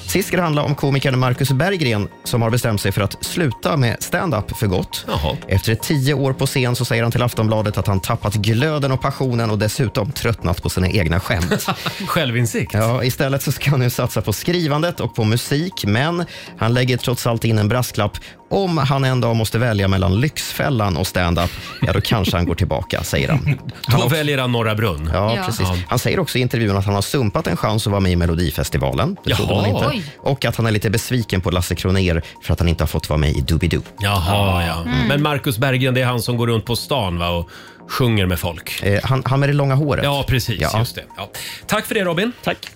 C: Sist ska det handla om komikern Marcus Berggren som har bestämt sig för att sluta med stand-up för gott. Efter tio år på scen så säger han till Aftonbladet att han tappat glöden och passionen och dessutom tröttnat på sina egna skämt.
A: Självinsikt.
C: Ja, istället så ska han nu satsa på skrivandet och på musik, men han lägger trots allt in en brasklapp. Om han en dag måste välja mellan Lyxfällan och stand-up, ja då kanske han går tillbaka, säger han.
A: Då väljer han Norra Brunn.
C: Ja, precis. Han säger också i intervjun att han har sumpat en chans att vara med i Melodifestivalen. Det trodde
A: Jaha.
C: man inte.
A: Oj.
C: Och att han är lite besviken på Lasse Kronér för att han inte har fått vara med i Doobidoo.
A: Jaha, ja.
C: Mm.
A: Men Marcus Berggren, det är han som går runt på stan va, och sjunger med folk.
C: Eh, han, han med det långa håret.
A: Ja, precis. Just det. Ja. Tack för det, Robin. Tack.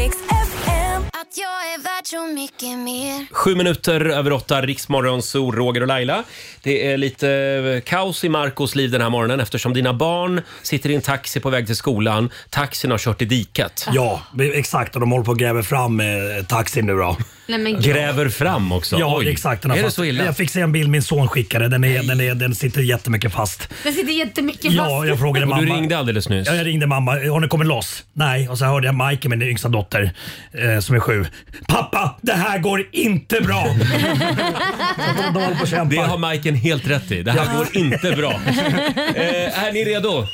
K: Att jag är värd så mycket mer.
A: Sju minuter över åtta, Riksmorgon, Sol, Roger och Laila. Det är lite eh, kaos i Marcos liv den här morgonen eftersom dina barn sitter i en taxi på väg till skolan. Taxin har kört i diket.
J: Ja, exakt. Och de håller på att gräva fram eh, taxin nu då.
B: Nej, men gud.
A: Gräver fram också?
J: Ja,
A: Oj.
J: exakt. Den har
A: Är det
J: fast-
A: så illa?
J: Jag fick se en bild min son skickade. Den, är, den, är, den sitter jättemycket fast.
B: Det sitter jättemycket
J: Ja,
B: fast.
J: jag frågade mamma.
A: alldeles nyss?
J: Ja, jag ringde mamma. Har ni kommit loss? Nej. Och så hörde jag Mike, min yngsta dotter, eh, som är sju. Pappa, det här går inte bra!
A: Det har Majken helt rätt i. Det här går inte bra. Eh, är ni redo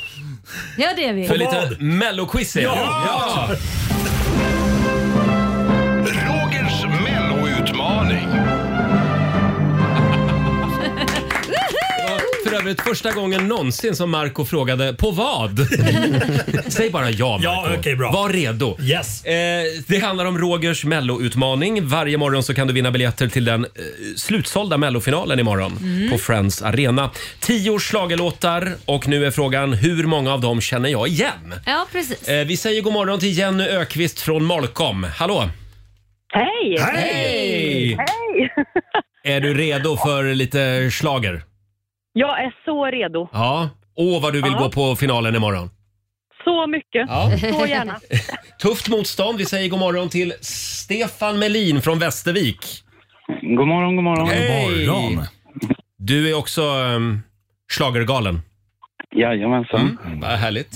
B: Ja, det är vi.
A: för lite melloquiz? säger jag?
B: Ja!
Q: Rogers melloutmaning.
A: För övrigt första gången någonsin som Marco frågade på vad? Säg bara ja
J: Ja,
A: Marco.
J: okej, bra.
A: Var redo.
J: Yes.
A: Eh, det handlar om Rogers melloutmaning. Varje morgon så kan du vinna biljetter till den eh, slutsålda mellofinalen imorgon
Q: Mm.
A: på Friends Arena. Tio års schlagerlåtar och nu är frågan hur många av dem känner jag igen?
B: Ja, precis.
A: Eh, vi säger god morgon till Jenny Ökvist från Molkom. Hallå!
O: Hej!
A: Hej!
O: Hej!
A: Är du redo för lite slager?
O: Jag är så redo.
A: Ja. Åh, vad du vill
O: Ja.
A: gå på finalen imorgon.
O: Så mycket.
A: Ja.
O: Så gärna.
A: Tufft motstånd. Vi säger god morgon till Stefan Melin från Västervik.
R: God morgon, god morgon.
A: Hej! Du är också um, schlagergalen.
R: Jajamensan.
A: Mm, vad härligt.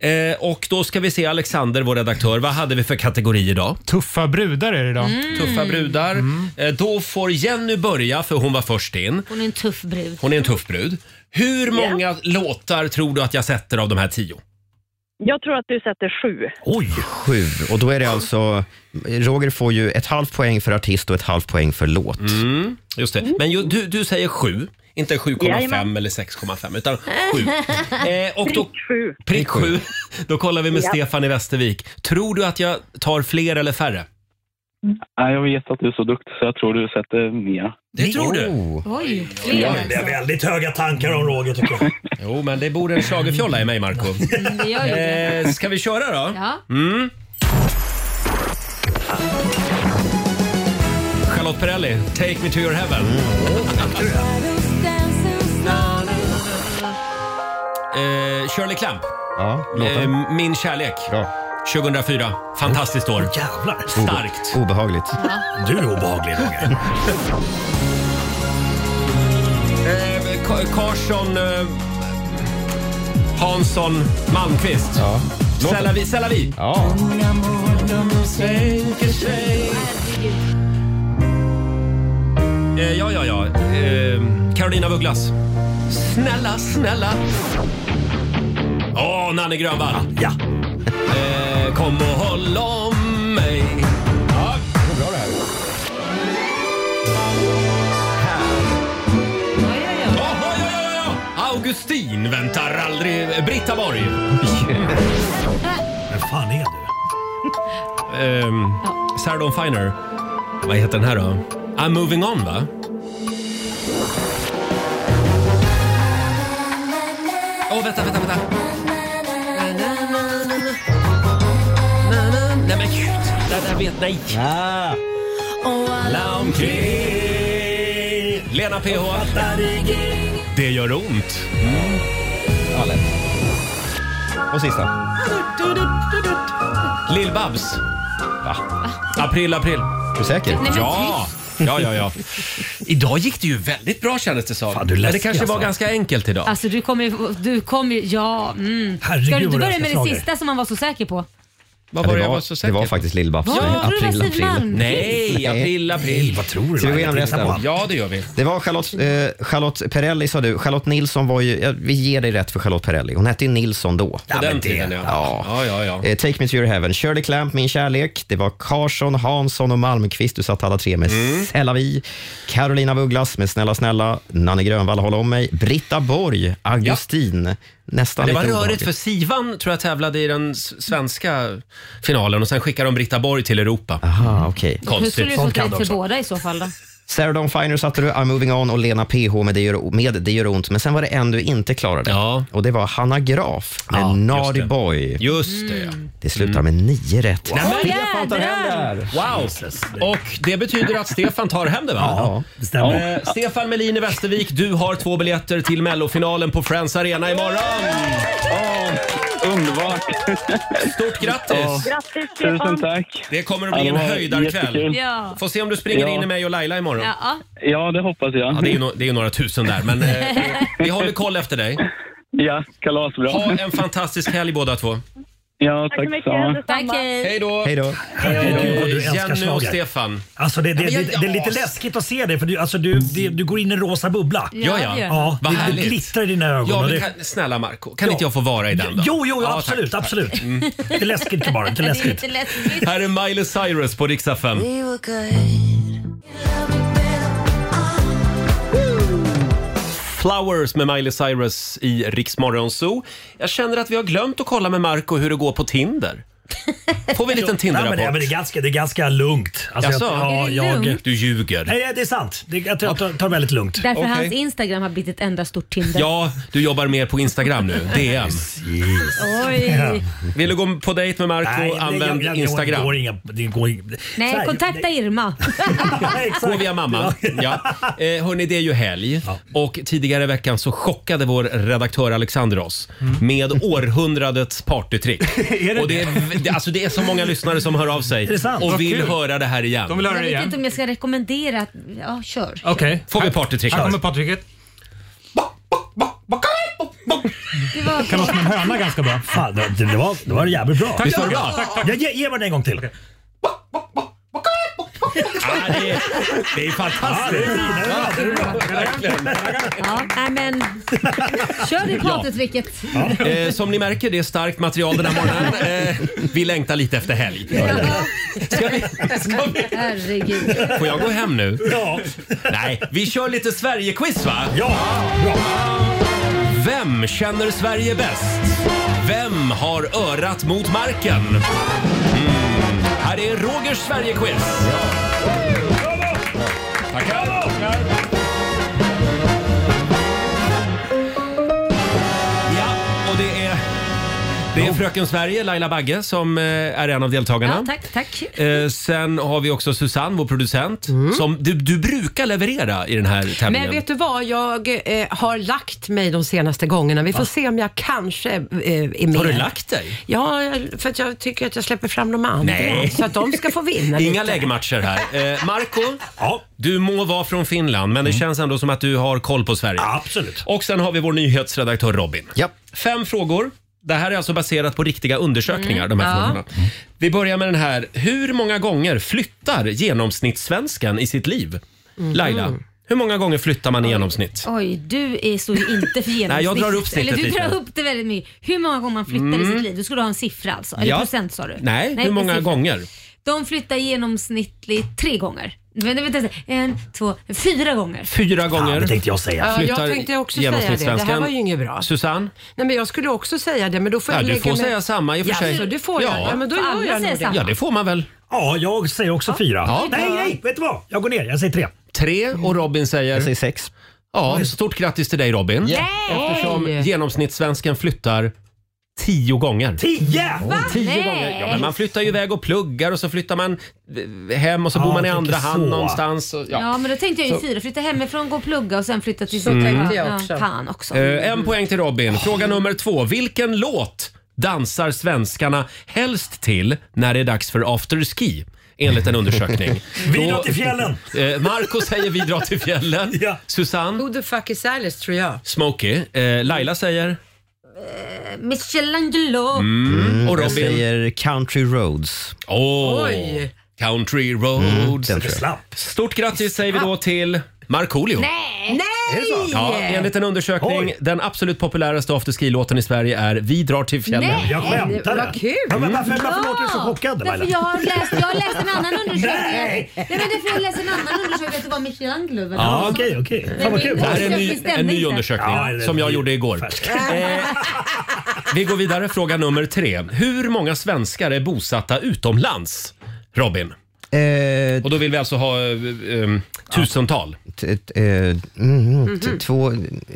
A: Eh, och då ska vi se Alexander, vår redaktör. Vad hade vi för kategori idag? Mm.
H: Tuffa brudar är det idag. Mm.
A: Tuffa brudar. Eh, då får Jenny börja, för hon var först in.
B: Hon är en tuff brud.
A: Hon är en tuff brud. Hur många låtar tror du att jag sätter av de här tio?
O: Jag tror att du sätter sju.
A: Oj!
C: Sju. Och då är det alltså, Roger får ju ett halvt poäng för artist och ett halvt poäng för låt.
A: Mm, just det. Men ju, du, du säger sju. Inte 7,5
C: Jajamän.
A: eller 6,5 utan sju. Eh, och då, prick sju. Då kollar vi med
R: Ja.
A: Stefan i Västervik. Tror du att jag tar fler eller färre?
R: Nej, Jag vet att du är så duktig så jag tror du sätter mer.
A: Det tror du?
C: Oh.
B: Oj, alltså.
J: Oj, det är väldigt höga tankar om Roger tycker jag.
A: Jo, men det bor en schlagerfjolla i mig, Marco.
B: Det gör ju det.
A: Eh, ska vi köra då?
B: Ja.
A: Mm. Charlotte Perrelli, Take me to your heaven. Mm. Eh, Shirley Clamp. Eh, Min kärlek. 2004. Fantastiskt år.
J: Jävlar.
A: Starkt.
C: Obehagligt.
J: Du är obehaglig Roger.
A: Eh, Ka- Karlsson, eh, Hansson, Malmqvist. Ja. Sällavi, Sällavi.
C: Ja.
A: Eh, ja, ja, ja. Eh, Carolina af Ugglas. Snälla, snälla. Åh, Nanne Grönvall.
J: Ja.
A: Eh, kom och håll om mig. Ja, det bra det här. Augustin väntar aldrig... Britta Borg.
J: Vem fan är du?
A: Ehm, Sarah Dawn Finer. Vad heter den här då? I'm moving on va? Åh, vänta, vänta, vänta. Nej men gud, det där vet nej. Ja. omkring. Lena PH. Det gör ont. Ja, lätt.
C: Och sista.
A: Lill-Babs. April, april.
C: Är du säker?
A: Nej, men Ja. Ja, ja, ja. Idag gick det ju väldigt bra kändes det som.
J: du är
A: Men det
J: läskig,
A: kanske var
J: alltså.
A: ganska enkelt idag.
B: Alltså du kommer ju... Du kommer ju ja, mm. Ska
A: Herregud,
B: du inte
A: vad
B: börja
A: jag
B: med det
A: slager.
B: sista som man var så säker på?
A: Vad var det jag var så säker
C: Det var faktiskt Lill-Babs.
B: Vad? Jag trodde det var Siw Malmkvist.
A: Nej, april, april.
J: vad tror du?
C: Ska vi gå igenom resten?
A: Ja, det gör vi.
C: Det var Charlotte, eh, Charlotte Perrelli sa du. Charlotte Nilsson var ju, ja, vi ger dig rätt för Charlotte Perrelli. Hon hette ju Nilsson då.
A: På den tiden ja. Ja, ja, ja.
C: Eh, Take me to your heaven. Shirley Clamp, Min kärlek. Det var Carson, Hansson och Malmqvist. Du satt alla tre med
A: Mm.
C: Sellavi. Carolina af Ugglas med Snälla snälla. Nanne Grönvall, Håll om mig. Britta Borg, Augustin. Nästan
A: Men det var
C: lite
A: rörigt
C: obehagligt.
A: för Sivan tror jag tävlade i den s- svenska finalen och sen skickade de Britta Borg till Europa.
C: Aha, okej.
B: Hur skulle du
A: Sånt
B: fått
A: kan
B: rätt
A: de
B: för båda i så fall då?
C: Sarah Dawn Finer satte du, I'm moving on och Lena PH med det, gör, med det gör ont. Men sen var det en du inte klarade. Och det var Hanna Graf med Naughty Boy.
A: Just det. Mm.
C: Det slutar med nio rätt.
A: Nej, men-
C: Fia fan tar hem det här.
A: Wow! Och det betyder att Stefan tar hem det va?
J: Ja, det stämmer.
A: Eh, Stefan Melin i Västervik, du har två biljetter till mellofinalen på Friends Arena imorgon.
R: Underbart!
A: Stort grattis!
R: Grattis, Stefan. Tusen tack.
A: Det kommer att bli
R: Ja,
A: en
R: det var
A: höjdarkväll.
R: jättekul. Ja.
A: Får se om du springer
R: Ja.
A: in i mig och Laila imorgon.
B: Ja.
R: Ja, det hoppas jag.
A: Ja, det, är ju no- det är ju några tusen där, men eh, vi håller koll efter dig.
R: Ja, kalasbra.
A: Ha en fantastisk helg båda två.
R: Ja, tack detsamma.
B: Tack, hej.
A: Hej då.
C: Hej då.
J: Herregud typ vad du
A: Eh,
J: älskar
A: Jenny och
J: schlager.
A: Stefan.
J: Alltså det,
A: Ja,
J: det,
A: men jag-
J: det, det är lite
A: ja.
J: läskigt att se dig för du, alltså du, det, du går in i en rosa bubbla.
A: Ja, ja. det gör det.
J: ja
A: Vad
J: det, det
A: härligt.
J: glittrar i dina ögon.
A: Ja,
J: och
A: men
J: det,
A: kan, snälla Marco, kan
J: Ja.
A: inte jag få vara i den då?
J: jo, jo,
A: Ja, tack,
J: absolut,
A: tack. Mm.
J: absolut. Det är läskigt bara, inte
B: Det är
J: läskigt.
B: lite läskigt.
A: Här är Miley Cyrus på riksdag 5. Flowers med Miley Cyrus i Rix Morgon Zoo. Jag känner att vi har glömt att kolla med Marco hur det går på Tinder. Får vi en liten
J: Nej, men det, men det, är
A: Tinder-rapport?
J: ganska, det är ganska lugnt. Alltså,
A: Jaså? Är det lugnt? Du ljuger.
J: Nej, det är sant. Det, jag tar, tar tar det väldigt lugnt.
B: Därför hans Instagram har blivit ett enda stort Tinder.
A: Ja, du jobbar mer på Instagram nu. DM.
B: Oj.
A: Vill du gå på dejt med Marco?
J: Nej, det-
A: Använd
J: jag- jag-
A: Instagram.
J: det går inga- det går inga- Så
B: Nej,
J: här,
B: kontakta Irma.
A: Gå via mamma. Ja. Eh, hörni, det är ju helg och tidigare i veckan så chockade vår redaktör Alexander oss med århundradets partytrick.
J: Mm. det
A: och det, är, det- alltså det är så många lyssnare som hör av sig
J: Är det sant?
A: och
J: Vad
A: vill
J: kul.
A: höra det här igen.
J: De vill
B: Jag vet inte om jag ska rekommendera. att- Ja, kör.
A: Får vi partytricket?
H: Här kommer partytricket.
B: Det var-
H: Kan låta som en höna ganska bra.
J: Fan, det, det, var, det var jävligt bra.
H: Tack,
J: Visst
H: tack,
J: bra?
H: tack,
J: Ja, ge, ge mig den en gång till.
A: Ja, det, är, det är fantastiskt.
B: Ja, nej men. Kör det partytricket.
A: Eh, som ni märker, det är starkt material den här morgonen. Eh, vi längtar lite efter helg.
B: Herregud.
A: Får jag gå hem nu? Ja. Nej, vi kör lite Sverige-quiz va?
J: Ja!
A: Vem känner Sverige bäst? Vem har örat mot marken? Mm. Här är Rogers Sverige-quiz. Tackar! Ja, och det är, det är Fröken Sverige, Laila Bagge, som eh, är en av deltagarna.
B: Ja, tack, tack.
A: Eh, sen har vi också Susanne, vår producent, som du, du brukar leverera i den här tävlingen.
G: Men vet du vad, jag eh, har lagt mig de senaste gångerna. Vi får se om jag kanske eh, är med.
A: Har du lagt dig?
G: Ja, jag- för att jag tycker att jag släpper fram de andra.
A: Nej.
G: Så att de ska få vinna
A: Inga
G: lite.
A: läggmatcher här. Eh, Marco, du må vara från Finland, men det
G: Mm.
A: känns ändå som att du har koll på Sverige.
J: Absolut.
A: Och sen har vi vår nyhetsredaktör Robin. Fem frågor. Det här är alltså baserat på riktiga undersökningar.
G: Mm,
A: De här
G: ja.
A: frågorna. Vi börjar med den här. Hur många gånger flyttar genomsnittssvensken i sitt liv?
B: Mhm.
A: Laila, hur många gånger flyttar man i genomsnitt?
B: Oj, du är så ju inte för genomsnittet.
A: Nej, jag drar upp snittet
B: Eller du
A: lite.
B: drar upp det väldigt mycket. Hur många gånger man flyttar i
A: Mm.
B: sitt liv? Du skulle ha en siffra alltså? Eller
A: Ja.
B: procent sa du?
A: Nej, hur
B: inte
A: många
B: siffra.
A: gånger?
B: De flyttar genomsnittligt tre gånger. Vänta, vänta, vänta. En, två, fyra gånger.
A: Fyra gånger.
J: det tänkte jag säga.
G: Ja, jag
A: Flyttar
G: tänkte också säga det.
A: genomsnittssvensken.
G: Det här var ju inget bra.
A: Susanne?
G: Nej, men jag skulle också säga det, men då får
A: Ja,
G: jag
A: du
G: lägga
A: får
G: mig...
A: säga samma i och för sig.
G: Ja, så det får jag.
A: Ja.
G: Ja, men då
B: Alla
G: gör jag
B: säger
G: nog det.
B: samma.
A: Ja, det får man väl.
J: Ja, jag säger också fyra.
A: Ja.
J: Nej, nej, vet du vad? Jag går ner. Jag säger tre.
A: Tre och Robin säger? Jag säger
C: sex.
A: Ja, stort grattis till dig Robin.
B: Nej!
A: Eftersom genomsnittssvensken flyttar tio gånger.
J: Tio!
A: Tio
B: Nej.
A: gånger. Ja, men man flyttar ju iväg och pluggar och så flyttar man eh, hem och så
J: Ja,
A: bor man i
J: tänker
A: andra hand
J: så.
A: någonstans. Och,
B: Ja.
A: ja.
B: men då tänkte jag ju
A: Så-
B: fyra. Flytta hemifrån, gå och plugga och sen flytta till
G: Så
B: Ja,
G: tänkte jag också.
B: Ja, fan också.
A: Eh, en poäng till Robin. Fråga nummer två. Vilken låt dansar svenskarna helst till när det är dags för afterski? Enligt en undersökning.
J: Vi
A: Då-
J: drar till fjällen.
A: Eh, Marco säger vi drar till fjällen.
J: Ja.
A: Susanne,
G: Who the fuck is Alice, tror jag.
A: Smokey. Eh, Laila säger?
B: Michelangelo.
A: Mm. Och
C: Jag
A: Robin?
C: säger Country Roads.
A: Åh!
B: Oj.
A: Country Roads.
C: den tror jag.
J: Slapp.
A: Stort grattis säger vi då till Markoolio.
B: Nej!
J: Nej!
A: Ja, enligt en undersökning,
J: Oj.
A: den absolut populäraste afterski-låten i Sverige är Vi drar till fjällen.
B: Nej.
J: Jag skämtade.
G: Vad kul.
J: Ja, men varför, varför låter du så chockad
B: Därför
J: Laila?
B: jag har läst, jag har läst en annan undersökning.
J: Nej.
B: Nej. men det är för jag läste en annan undersökning att det var Michelangelo. eller
A: Ja,
J: Ja,
B: något sånt.
J: Okej, okej. Fan vad kul.
A: Det här är en
B: Det
A: ny,
B: stämde
A: en ny
B: inte.
A: undersökning
J: Ja, det är
A: som jag
J: ny.
A: gjorde igår.
J: Färsk.
A: Eh, vi går vidare, fråga nummer tre. Hur många svenskar är bosatta utomlands? Robin?
C: Eh,
A: Och då vill vi alltså ha eh, eh, tusental.
C: t- t- eh, mm,
G: Mhm.
C: t- Två...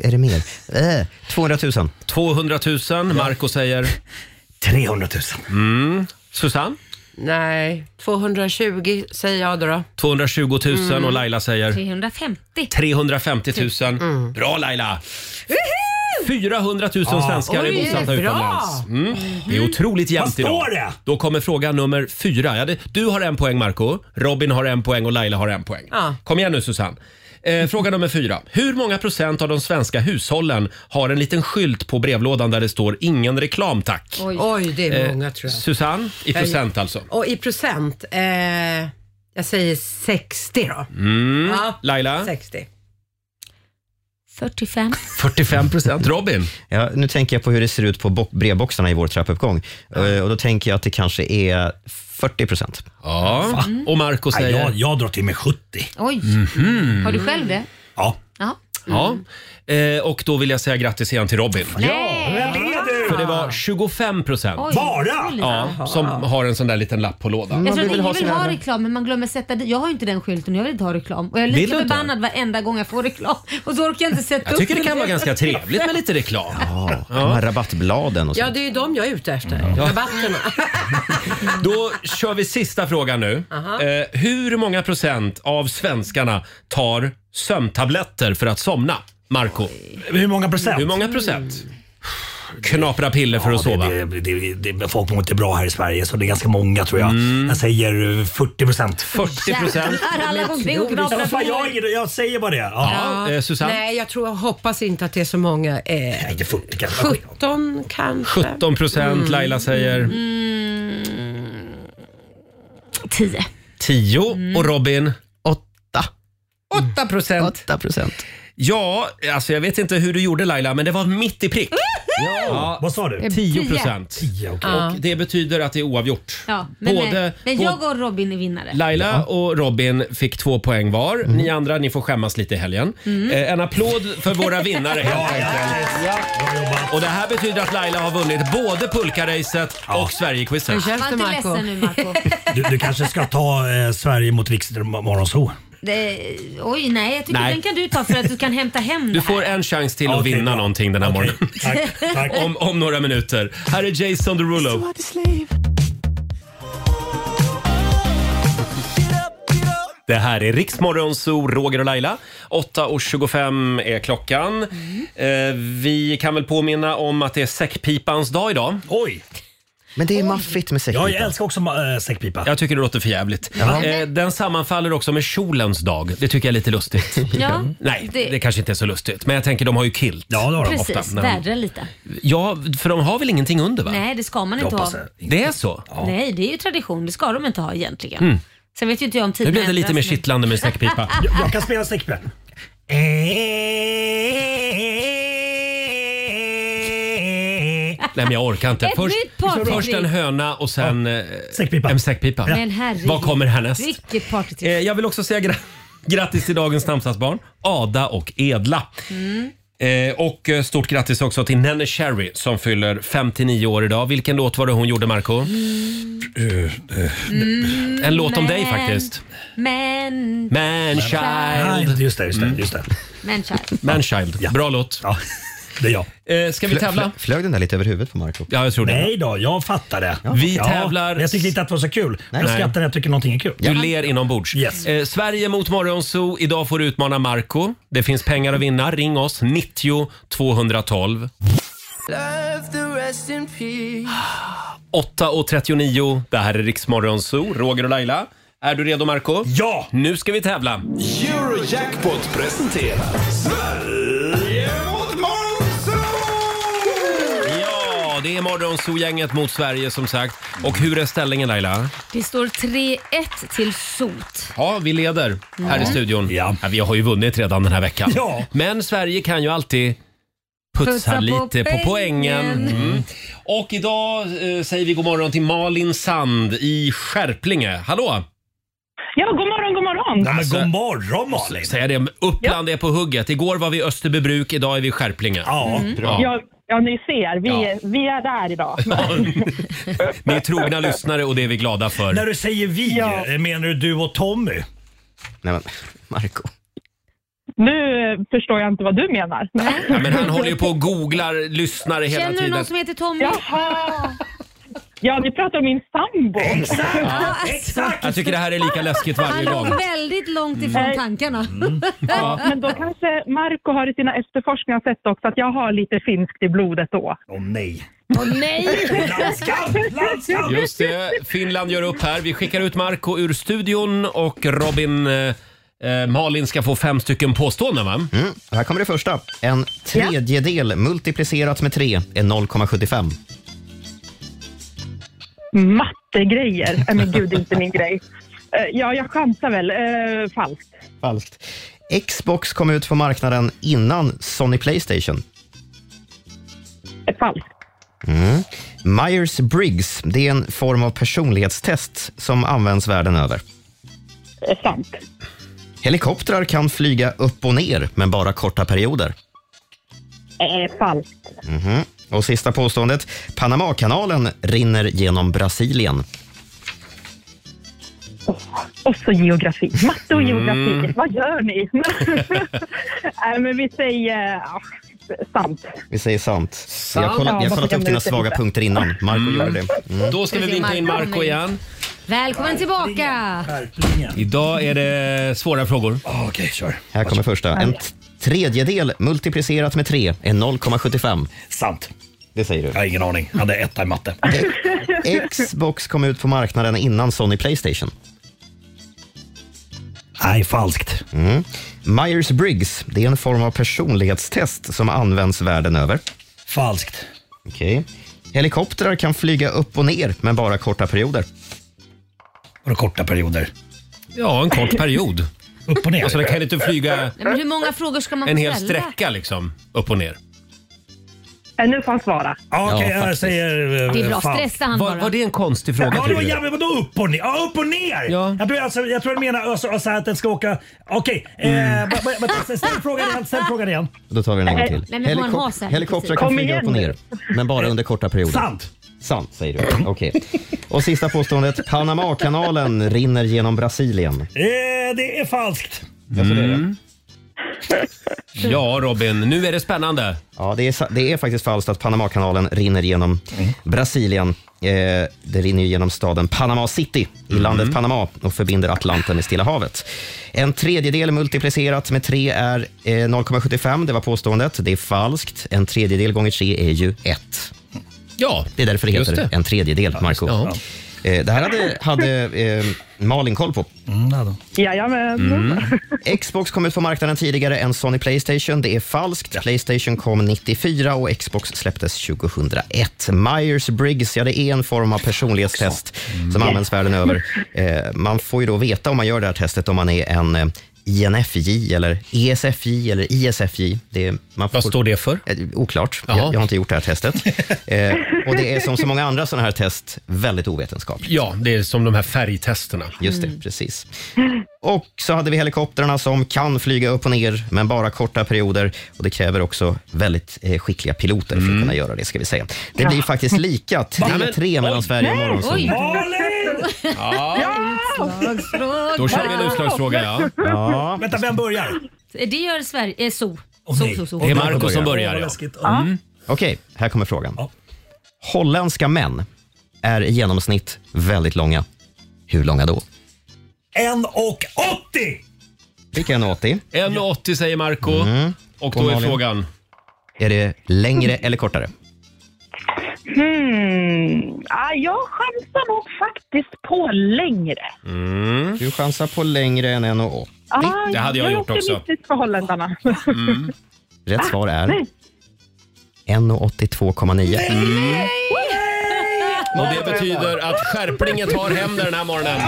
C: Är det mer? Eh, 200 000.
A: 200 000, Marco säger.
J: 300 000.
A: Mm. Susanne?
G: Nej, 220 säger jag då. då.
A: 220 000
B: Mm.
A: och Laila säger
B: 350.
A: 350
G: Typ.
A: 000.
G: Mm.
A: Bra Laila! 400 000 svenskar är
G: Oj,
A: bosatta
G: bra.
A: utomlands. Mm. Det är otroligt jämnt
J: Vad
A: idag.
J: står det?
A: Då kommer fråga nummer fyra. Ja, det- Du har en poäng Marco, Robin har en poäng och Laila har en poäng.
G: Ja.
A: Kom igen nu Susanne. Eh, fråga nummer fyra. Hur många procent av de svenska hushållen har en liten skylt på brevlådan där det står “Ingen reklam tack”?
B: Oj.
G: Oj, det är
A: Eh,
G: många tror jag.
A: Susanne, i procent alltså.
G: Och i procent, eh, jag säger 60 då.
A: Mm.
G: Ja,
A: Laila?
G: 60.
B: 45.
A: 45 procent. Robin?
C: Ja, nu tänker jag på hur det ser ut på bo- brevboxarna i vår trappuppgång. Eh, och då tänker jag att det kanske är 40 procent.
A: Ja. Och Marco
J: Nej,
A: säger?
J: jag, jag drar till med 70.
A: Mhm.
B: Oj. Har du själv det?
J: Ja.
B: Ja.
A: Ja, eh, och då vill jag säga grattis igen till Robin.
J: leder!
A: För det var 25 procent.
B: Oj, Bara?
A: Ja, som har en sån där liten lapp på lådan.
B: Jag tror att ingen vill ha reklam men man glömmer sätta dit. Jag har ju inte den skylten och jag vill inte ha reklam. Och jag är
A: Vill
B: lite
A: du inte?
B: förbannad varenda gång jag får reklam. Och så orkar jag inte sätta
A: Jag tycker
B: upp
A: det kan
B: den.
A: vara ganska trevligt med lite reklam. Ja,
C: Ah, De här rabattbladen och så.
G: Ja, det är ju dem jag är ute efter.
A: Ja.
G: Rabatterna.
A: Då kör vi sista frågan nu.
G: Aha.
A: Eh, hur många procent av svenskarna tar sömntabletter för att somna? Marco? Hur många procent? Hur många procent? Knapra piller för att sova.
J: Det, det, det, det, folk mår inte bra här i Sverige så det är ganska många tror jag.
A: Mm.
J: Jag säger eh, 40 procent.
A: 40
B: Jävlar, alla går omkring och knaprar
J: Ja, vad fan,
B: på.
J: jag, jag säger bara det. Ja.
A: Eh,
G: Nej, jag tror jag hoppas inte att det är så många. Eh,
J: Nej, inte 40 kanske.
G: 17 kanske.
A: 17 procent Laila säger.
B: 10.
A: 10 och Robin?
C: Mm.
A: 8. 8 procent. 8 procent. Ja, alltså jag vet inte hur du gjorde Laila, men det var mitt i prick. Ja.
J: Vad sa du?
A: 10 procent.
B: Ja.
A: Och det betyder att det är oavgjort.
B: Ja, men, eh,
A: Både-
B: men jag och Robin är vinnare.
A: Laila och Robin fick två poäng var. Ni andra, ni får skämmas lite i helgen.
B: Mm.
A: Eh, en applåd för våra vinnare helt enkelt. Och det här betyder att Laila har vunnit både pulkaracet och Sverigequizen.
B: Var inte ledsen nu Marco.
J: Du, du kanske ska ta eh, Sverige mot Riksdag morgonzoo.
B: Det, oj, nej. Jag tycker
A: Nej.
B: den kan du ta för att du kan hämta hem
A: Du
B: det
A: får en chans till att vinna någonting den här morgonen.
B: Tack, tack.
A: om, om några minuter. Här är Jason Derulo. Det här är Riksmorgon, så Roger och Laila. 8.25 är klockan. Eh, vi kan väl påminna om att det är säckpipans dag idag.
J: Oj!
C: Men det är maffigt med säckpipa.
J: Ja, jag älskar också äh, säckpipa.
A: Jag tycker det låter för jävligt.
J: Ja.
A: Eh, den sammanfaller också med kjolens dag. Det tycker jag är lite lustigt.
B: Ja,
A: Nej, det...
B: det-
A: kanske inte är så lustigt. Men jag tänker, de har ju kilt. Ja, det
B: Precis, vädra lite.
A: Ja, för de har väl ingenting under va?
B: Nej, det ska man inte ha.
A: Det är så?
B: Nej, det är ju tradition. Det ska de inte ha egentligen.
A: Mm.
B: Sen vet ju inte jag om
A: Nu
B: tiden
A: blev det lite mer
B: ändras, men-
A: kittlande med säckpipa.
J: Jag, jag kan spela säckpipa.
A: Eh. Nej men jag orkar inte.
B: Ett
A: Först,
B: nytt par
A: först
B: Fredrik.
A: en höna och sen eh, en säckpipa.
B: Men herregud.
A: Vad kommer härnäst?
B: Vilket partytrick.
A: Eh, jag vill också säga gra- grattis till dagens namnsdagsbarn, Ada och Edla.
B: Mm.
A: Eh, och eh, stort grattis också till Nene Cherry som fyller 59 år idag. Vilken låt var det hon gjorde, Marco?
B: Mm.
A: Eh, En låt om dig
B: Men-
A: faktiskt.
B: Mm, Men...
A: Manchild.
J: Just det, just det.
A: Mm.
J: Just det.
B: Men child.
A: Manchild. Bra låt.
J: Ja, det är jag.
A: Eh, ska vi
C: Flö-
A: tävla?
C: flö- Flög den där lite över huvudet på Marco?
A: Ja, jag tror det.
J: Nej då, jag fattar det.
A: Vi
J: ja,
A: tävlar-
J: men Jag tycker inte att det var så kul.
A: Nej.
J: Jag skrattar när jag tycker någonting är kul.
A: Du ler inombords. Eh, Sverige mot Morgonzoo. Idag får du utmana Marco. Det finns pengar att vinna. Ring oss, 90 212. 8.39, det här är Riksmorgonzoo. Roger och Laila. Är du redo Marco?
J: Ja!
A: Nu ska vi tävla.
Q: Eurojackpot presenterar Sverige mot
A: Ja, det är Morgonzoo-gänget mot Sverige som sagt. Och hur är ställningen Laila?
B: Det står 3-1 till sot.
A: Ja, vi leder här
B: Ja.
A: i studion. Ja. vi har ju vunnit redan den här veckan.
B: Ja.
A: Men Sverige kan ju alltid putsa,
B: Putsa på
A: lite på poängen.
B: poängen.
A: Mm. Och idag eh, säger vi god morgon till Malin Sand i Skärplinge. Hallå!
O: Ja, god morgon, god morgon.
A: Alltså-
J: morgon
A: Malin! Säga det, Uppland är på hugget. Igår var vi i Österbybruk, idag är vi i Skärplinge.
O: Mm. Ja, ja, ni ser. Vi, är- vi är där idag.
A: Ni är trogna lyssnare och det är vi glada för.
J: När du säger vi, eh, menar du du och Tommy?
C: Nej men, Marco.
O: Nu eh, förstår jag inte vad du menar.
A: Ja, men han håller ju på och googlar lyssnare hela
B: Känner du
A: tiden.
B: någon som heter Tommy?
O: Jaha! Ja, ni pratar om min sambo.
A: Ja, Jag tycker det här är lika läskigt
B: Han
A: varje
B: låg
A: gång.
B: väldigt långt ifrån
O: Mm.
B: tankarna.
O: Ja, men då kanske Marco har i sina efterforskningar sett också att jag har lite finskt i blodet då.
J: Åh nej!
B: Åh nej!
A: Just det, Finland gör upp här. Vi skickar ut Marco ur studion och Robin eh, eh, Malin ska få fem stycken påståenden va?
C: Mm. Här kommer det första. En tredjedel multiplicerat med tre är 0,75.
O: Mattegrejer. Nej, men gud, det är inte min grej. Eh, Ja, jag chansar väl. Eh, falskt.
C: Falskt. Xbox kom ut på marknaden innan Sony Playstation.
O: Eh, Falskt.
C: Mm. Myers-Briggs, det är en form av personlighetstest som används världen över.
O: Eh, sant.
C: Helikoptrar kan flyga upp och ner, men bara korta perioder.
O: Eh, falskt.
C: Mhm. Och sista påståendet. Panamakanalen rinner genom Brasilien.
O: Och så geografi. Matte och geografi.
C: Mm.
O: Vad gör ni? Nej, men vi säger ja, sant.
C: Vi säger sant. Jag har
O: Ja,
C: kollat, jag har
O: varför
C: kollat
O: kan
C: upp
O: vi
C: dina
O: inte
C: svaga
O: veta?
C: punkter innan. Marco
A: Mm.
C: gjorde det. Mm.
A: Då ska vi vinka in Marco igen.
B: Välkommen tillbaka!
A: Idag är det svåra frågor.
C: Okej, kör. Här kommer första. En t- tredjedel multiplicerat med tre är 0,75. Sant. Det säger du. Jag har ingen aning. Hade etta i matte. Xbox kom ut på marknaden innan Sony Playstation. Nej, falskt. Mm. Myers-Briggs, det är en form av personlighetstest som används världen över. Falskt. Okej. Helikoptrar kan flyga upp och ner, men bara korta perioder. Vadå korta perioder?
A: Ja, en kort period.
C: Upp och ner.
A: Alltså den kan inte flyga
B: Nej, men hur många frågor ska man få
A: en hel
B: ställa?
A: sträcka liksom, upp och ner.
O: Eh, Nu får han svara.
A: Ja,
J: okej, jag
A: faktiskt.
J: säger... eh,
B: Det är bra,
J: falskt.
B: stressa han bara.
A: Var det en konstig fråga?
J: Ja, det
A: tycker
J: var
A: du?
J: jävligt. Vadå upp och ner? Ja, upp och ner! Jag, tror, alltså, jag tror du menar alltså, alltså, att den ska åka... Okej, eh,
A: Mm.
J: va- va- vänta, ställ frågan igen. Ställ frågan igen.
C: Då tar vi den en gång till.
J: Nej, Äh, men får man
C: Helikop-
J: ha så här
C: helikoptrar
J: precis?
C: kan
J: Kom
C: flyga
J: igen
C: upp och
J: nu.
C: ner, men bara under korta perioder.
J: Sant.
C: Sant, säger du. Okej. Och sista påståendet. Panamakanalen rinner genom Brasilien.
J: Eh, det är falskt.
A: Mm. Ja, Robin, nu är det spännande.
C: Ja, det är, sa- det är faktiskt falskt att Panamakanalen rinner genom
A: Mm.
C: Brasilien. Eh, det rinner ju genom staden Panama City i
A: Mm.
C: landet Panama och förbinder Atlanten med Stilla havet. En tredjedel multiplicerat med tre är eh, 0,75. Det var påståendet. Det är falskt. En tredjedel gånger tre är ju ett.
A: Ja,
C: Det är därför det
A: Just
C: heter
A: det.
C: en tredjedel, Marco. Eh, Det här hade, hade eh, Malin koll på.
O: Jajamän.
C: Xbox kom ut på marknaden tidigare än Sony Playstation. Det är falskt. Playstation kom 94 och Xbox släpptes 2001. Myers-Briggs, ja det är en form av personlighetstest som används världen över. Eh, Man får ju då veta om man gör det här testet om man är en eh, INFJ eller E ESFJ eller ISFJ. Det är, man får, Vad står
A: det för?
C: Oklart. Jag, jag har inte gjort det här testet. Eh, och det är som så många andra sådana här test väldigt ovetenskapligt.
A: Ja, det är som de här färgtesterna.
C: Just det, precis. Och så hade vi helikoptrarna som kan flyga upp och ner, men bara korta perioder. Och Det kräver också väldigt eh, skickliga piloter för att kunna göra det, ska vi säga. Det blir faktiskt lika. 3-3 mellan Sverige och Morgonzoo.
B: Utslagsfråga.
C: Då kör vi en utslagsfråga, ja. Ja.
J: Vänta, vem börjar?
B: Det gör Sverige. Eh, so. so,
C: nej.
B: so, so.
C: Det är Marco som börjar, ja.
B: Ja.
A: Mm.
C: Okej, här kommer frågan. Holländska män är i genomsnitt väldigt långa. Hur långa då?
J: En och 80!
C: Fick en 80.
A: 1,80 säger Marco
C: Mm.
A: Och då är
C: Malin.
A: frågan?
C: Är det längre eller kortare?
O: Hmm. Ja, jag chansar nog faktiskt på längre.
C: Du chansar på längre än 1,80.
O: Ah,
C: Det hade jag gjort
O: är
C: också.
O: optimistisk för holländarna.
C: Rätt svar är
O: Nej.
C: 1,82,9. Mm.
A: Och det betyder att skärplinget tar hem det den här morgonen.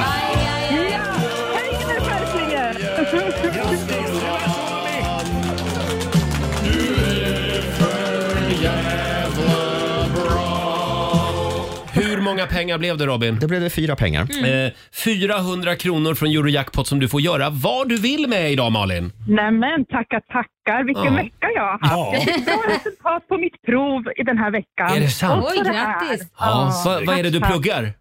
A: Hur många pengar blev det Robin?
C: Det blev det fyra pengar.
A: Eh, 400 kronor från Eurojackpot som du får göra vad du vill med idag Malin.
O: Nämen, tackar, tackar. Vilken
A: Ja.
O: vecka jag har haft.
A: Ja.
O: Jag fick bra resultat på mitt prov i den här veckan.
A: Är det sant?
O: Och
A: Oj,
O: på det här.
B: grattis.
A: Ja, vad, vad är det du
O: Tack, tack.
A: pluggar?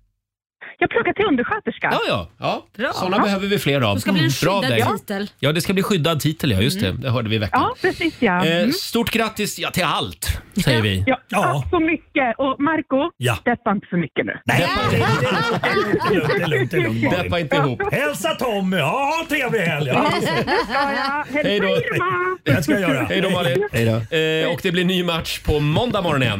O: Jag pluggar till undersköterska.
A: Ja, ja. ja.
O: Bra.
A: Sådana
O: Ja.
A: behöver vi fler av.
O: Det ska bli en
A: Mm, Bra av
O: skyddad
A: dig.
O: titel.
A: Ja, det ska bli skyddad titel, ja. Just det. Det hörde vi i veckan.
O: Ja, precis ja.
A: Eh,
O: Mm.
A: Stort grattis ja, till allt, säger vi.
O: Ja, Tack så
F: Eh,
O: mycket. Och Marco,
A: Ja.
O: deppa inte för mycket nu.
J: Nej, det är lugnt, det är lugnt, det är lugnt, det är lugnt, det är lugnt. Malin.
A: Deppa inte ihop.
J: Hälsa Tommy! Ja, ha en trevlig helg! Ja.
A: Hej då.
J: Det ska jag göra.
A: Hej då Malin.
C: Hej
A: då. Eh, och det blir ny match på måndag morgon igen.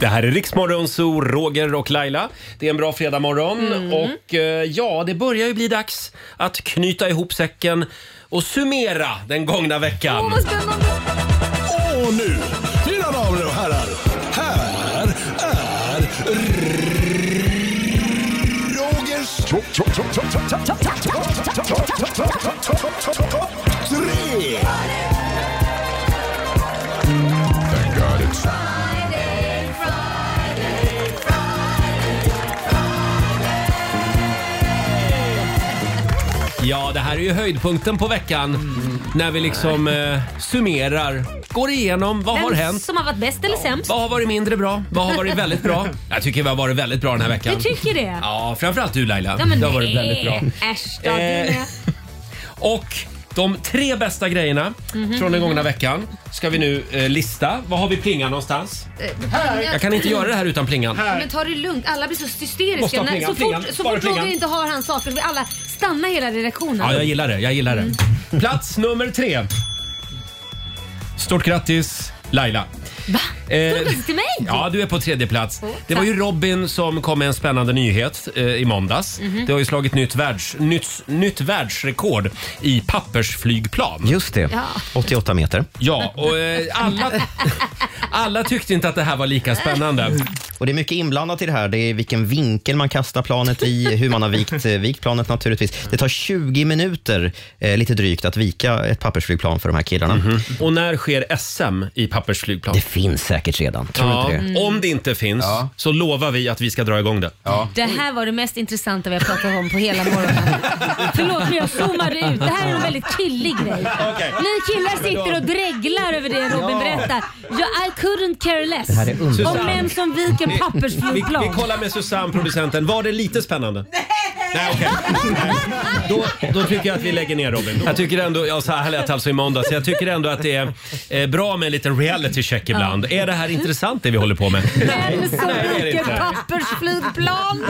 A: Det här är Riksmorgon Zoo, Roger och Laila. Det är en bra fredagmorgon
B: Mm.
A: och eh, ja, det börjar ju bli dags att knyta ihop säcken och summera den gångna veckan.
Q: Och nu, mina damer och herrar, här är Rogers... Tre!
A: Ja, det här är ju höjdpunkten på veckan. När vi liksom eh, summerar, går igenom vad
B: Vem
A: har hänt.
B: som har varit bäst eller sämst?
A: Vad har varit mindre bra? Vad har varit väldigt bra? Jag tycker vi har varit väldigt bra den här veckan.
B: Du tycker det?
A: Ja, framförallt du Laila.
B: Ja, men
A: det har
B: nej.
A: varit väldigt bra.
B: Äsch då, du
A: Eh,
B: med.
A: Och de tre bästa grejerna
B: Mhm.
A: från den gångna veckan ska vi nu eh, lista. Var har vi plingan någonstans?
B: Eh,
A: Jag kan inte göra det här utan plingan.
B: Men ta det lugnt, alla blir så
A: Måste
B: hysteriska.
A: ha
B: När-
A: plingan,
B: så
A: plingan,
B: fort, så
A: bara
B: fort
A: plingan.
B: Roger inte har hans saker vill alla stanna hela redaktionen.
A: Ja, jag gillar det. Jag gillar det. Plats nummer tre. Stort grattis Laila. Va?
B: grattis till mig?
A: Ja, du är på tredje plats. Det var
B: tack.
A: ju Robin som kom med en spännande nyhet eh, i måndags.
B: Mhm.
A: Det har ju slagit nytt, världs, nytt, nytt världsrekord i pappersflygplan.
C: Just det.
A: Ja.
C: 88 meter.
A: Ja, och eh, alla, alla tyckte inte att det här var lika spännande.
C: Och det är mycket inblandat i det här. Det är vilken vinkel man kastar planet i, hur man har vikt, eh, vikt planet naturligtvis. Det tar 20 minuter, eh, lite drygt, att vika ett pappersflygplan för de här killarna.
A: Och när sker SM i pappersflygplan?
C: Det finns säkert redan. Tror du
A: Ja,
C: inte det?
A: Om det inte finns så lovar vi att vi ska dra igång det.
B: Det här var det mest intressanta vi har pratat om på hela morgonen. Förlåt men jag zoomade ut. Det här är en väldigt killig grej. Ni killar sitter och dreglar över det Robin
A: Ja.
B: berättar. Jag, I couldn't care less.
A: Det här är underbart.
B: Om män som viker
A: Vi, vi
B: pappersflygplan.
A: kollar med Susanne, producenten. Var det lite spännande? Nej, okej. Nej. Då, då tycker jag att vi lägger ner Robin. Jag tycker ändå, ja, så här lät alltså i måndags, jag tycker ändå att det är eh, bra med en liten reality check ibland. Är det här intressant det vi håller på med?
B: Män som
A: Nej, det är det
B: viker
A: inte.
B: pappersflygplan.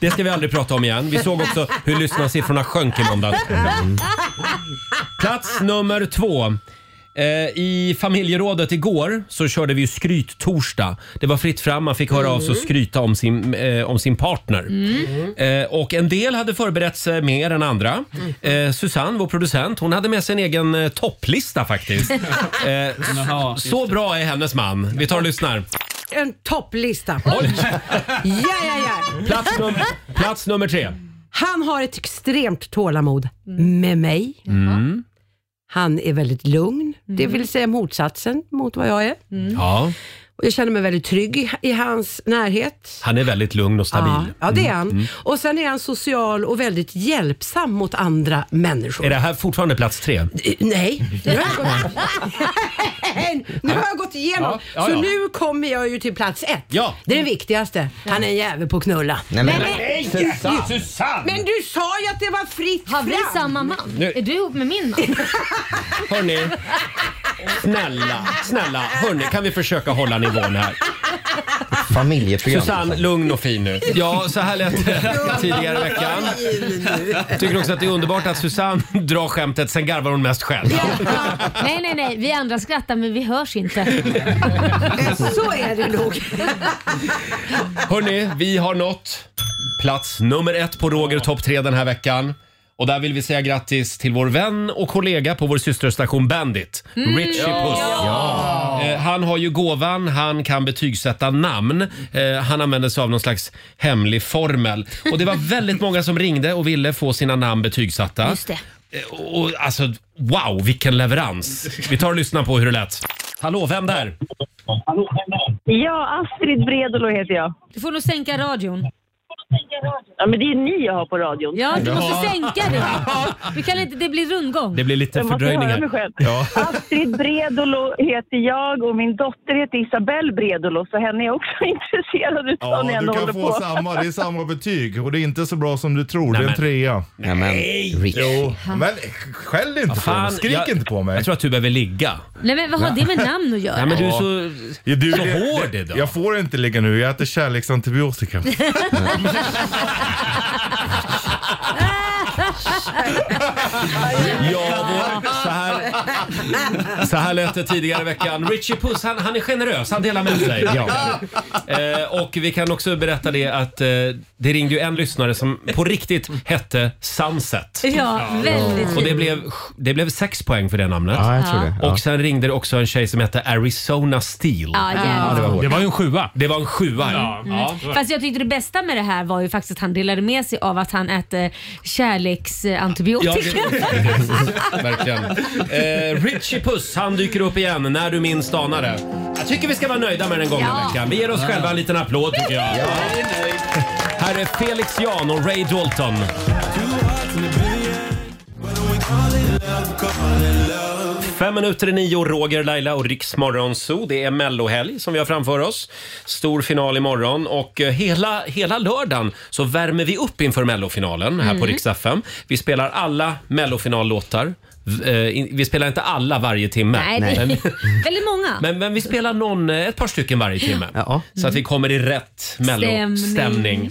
A: Det ska vi aldrig prata om igen. Vi såg också hur lyssnarsiffrorna sjönk i måndags. Plats nummer två. Eh, I familjerådet igår så körde vi ju skryttorsdag. Det var fritt fram, man fick höra av sig och skryta om sin, eh, om sin partner. Eh, och en del hade förberett sig mer än andra. Eh, Susanne, vår producent, hon hade med sig en egen eh, topplista faktiskt. Eh,
I: Jaha, just
A: så bra är hennes man. Vi tar och lyssnar.
G: En topplista. ja, ja, ja.
A: Plats, num plats nummer tre.
G: Han har ett extremt tålamod med mig.
A: Mm.
G: Han är väldigt lugn, det vill säga motsatsen mot vad jag är.
A: Mm. Ja,
G: Och jag känner mig väldigt trygg i, i hans närhet.
A: han är väldigt lugn och stabil.
G: Ja, ja, det är
A: Mm,
G: han.
A: mm.
G: Och sen är han social och väldigt hjälpsam mot andra människor. Eh,
A: Är det här fortfarande plats tre?
G: Nej, nu har jag gått, nu har jag gått igenom.
A: Ja, ja, ja.
G: Så nu kommer jag ju till plats ett.
A: Ja.
G: Det är det viktigaste. Han är en jävel på att knulla.
C: Nej, men-
G: nej,
C: Susanne!
G: du- Men du sa ju att det var fritt
B: Har vi
G: fram.
B: samma man?
A: Nu-
B: Är du ihop med min man?
A: Hörni, snälla, snälla, hörni, kan vi försöka hålla nivån här?
C: Familjeprogram.
A: Susanne, lugn och fin nu. Ja, så här lät det tidigare i veckan. Tycker också att det är underbart att Susanne drar skämtet, sen garvar hon mest själv.
B: Nej, nej, nej. Vi andra skrattar men vi hörs inte.
G: Så är det nog.
A: Hörni, vi har nått plats nummer ett på Roger topp tre den här veckan. Och där vill vi säga grattis till vår vän och kollega på vår systerstation Bandit,
Q: Mm.
A: Richie Puss.
Q: Ja.
A: Eh, Han har ju gåvan, han kan betygsätta namn. Eh, Han använder sig av någon slags hemlig formel. Och det var väldigt många som ringde och ville få sina namn betygsatta. Just
B: det.
A: Och, och alltså, wow, vilken leverans! Vi tar och lyssnar på hur det lät. Hallå, vem där?
F: Ja, Astrid Bredolo heter jag.
B: Du får nog sänka radion.
F: Ja, men det är ni jag har på radion.
B: Ja, du måste
F: Ja.
B: sänka det. Du kan inte, det blir rundgång.
A: Det blir lite
F: Jag måste höra mig
A: fördröjningar.
F: själv.
A: Ja.
F: Astrid Bredolo heter jag och min dotter heter Isabelle Bredolo så henne är jag också intresserad utav
M: Ja,
F: när jag
M: du
F: ändå
M: kan
F: håller
M: få
F: på.
M: samma. Det är samma betyg och det är inte så bra som du tror. det är en
A: Nämen.
M: trea.
A: Nämen, Richie.
M: Jo, men skäll inte på mig. Skrik
A: jag,
M: inte på mig.
A: Jag tror att du behöver ligga.
B: Nej men vad har det med namn att göra?
A: Nej, men du är
M: Ja.
A: så,
M: Ja, du,
A: så
M: det-
A: hård
M: det-
A: idag.
M: Jag får inte ligga nu. Jag äter kärleksantibiotika.
A: Ja, vår, så, här, så här lät det tidigare i veckan. Richie Puss, han, han är generös. Han delar med sig.
Q: Ja.
A: Eh, och vi kan också berätta det att eh, det ringde ju en lyssnare som på riktigt hette Sunset.
B: Ja, väldigt
A: Och det
B: fin.
A: blev, det blev sex poäng för det namnet.
B: Ja, jag tror det.
A: Och sen ringde det också en tjej som hette Arizona Steel.
B: Ja, jävlar. Ja, det var hårt.
A: det var ju en sjua. Det var en sjua. Ja.
B: Mm. Fast jag tyckte det bästa med det här var ju faktiskt att han delade med sig av att han äter eh,
A: Ja,
B: kärleksantibiotika.
A: det, verkligen. Eh, Richie Puss, han dyker upp igen när du minst anar det. Jag tycker vi ska vara nöjda med den gångna
Q: Ja.
A: veckan. Vi ger oss
Q: Ja.
A: själva en liten applåd tycker jag. Här är Felix Jan och Ray Dalton. Fem minuter i nio, Roger, Laila och Riksmorgon Zoo. Det är mellohelg som vi har framför oss. Stor final imorgon och eh, hela, hela lördagen så värmer vi upp inför mellofinalen här på
M: Mm.
A: Rix FM. Vi spelar alla mellofinallåtar. V- eh, in- Vi spelar inte alla varje timme. Eh,
B: Nej, det är
A: Men,
B: väldigt många.
A: men, men vi spelar någon, eh, ett par stycken varje timme. Så att vi kommer i rätt mellostämning. stämning
B: Stämning.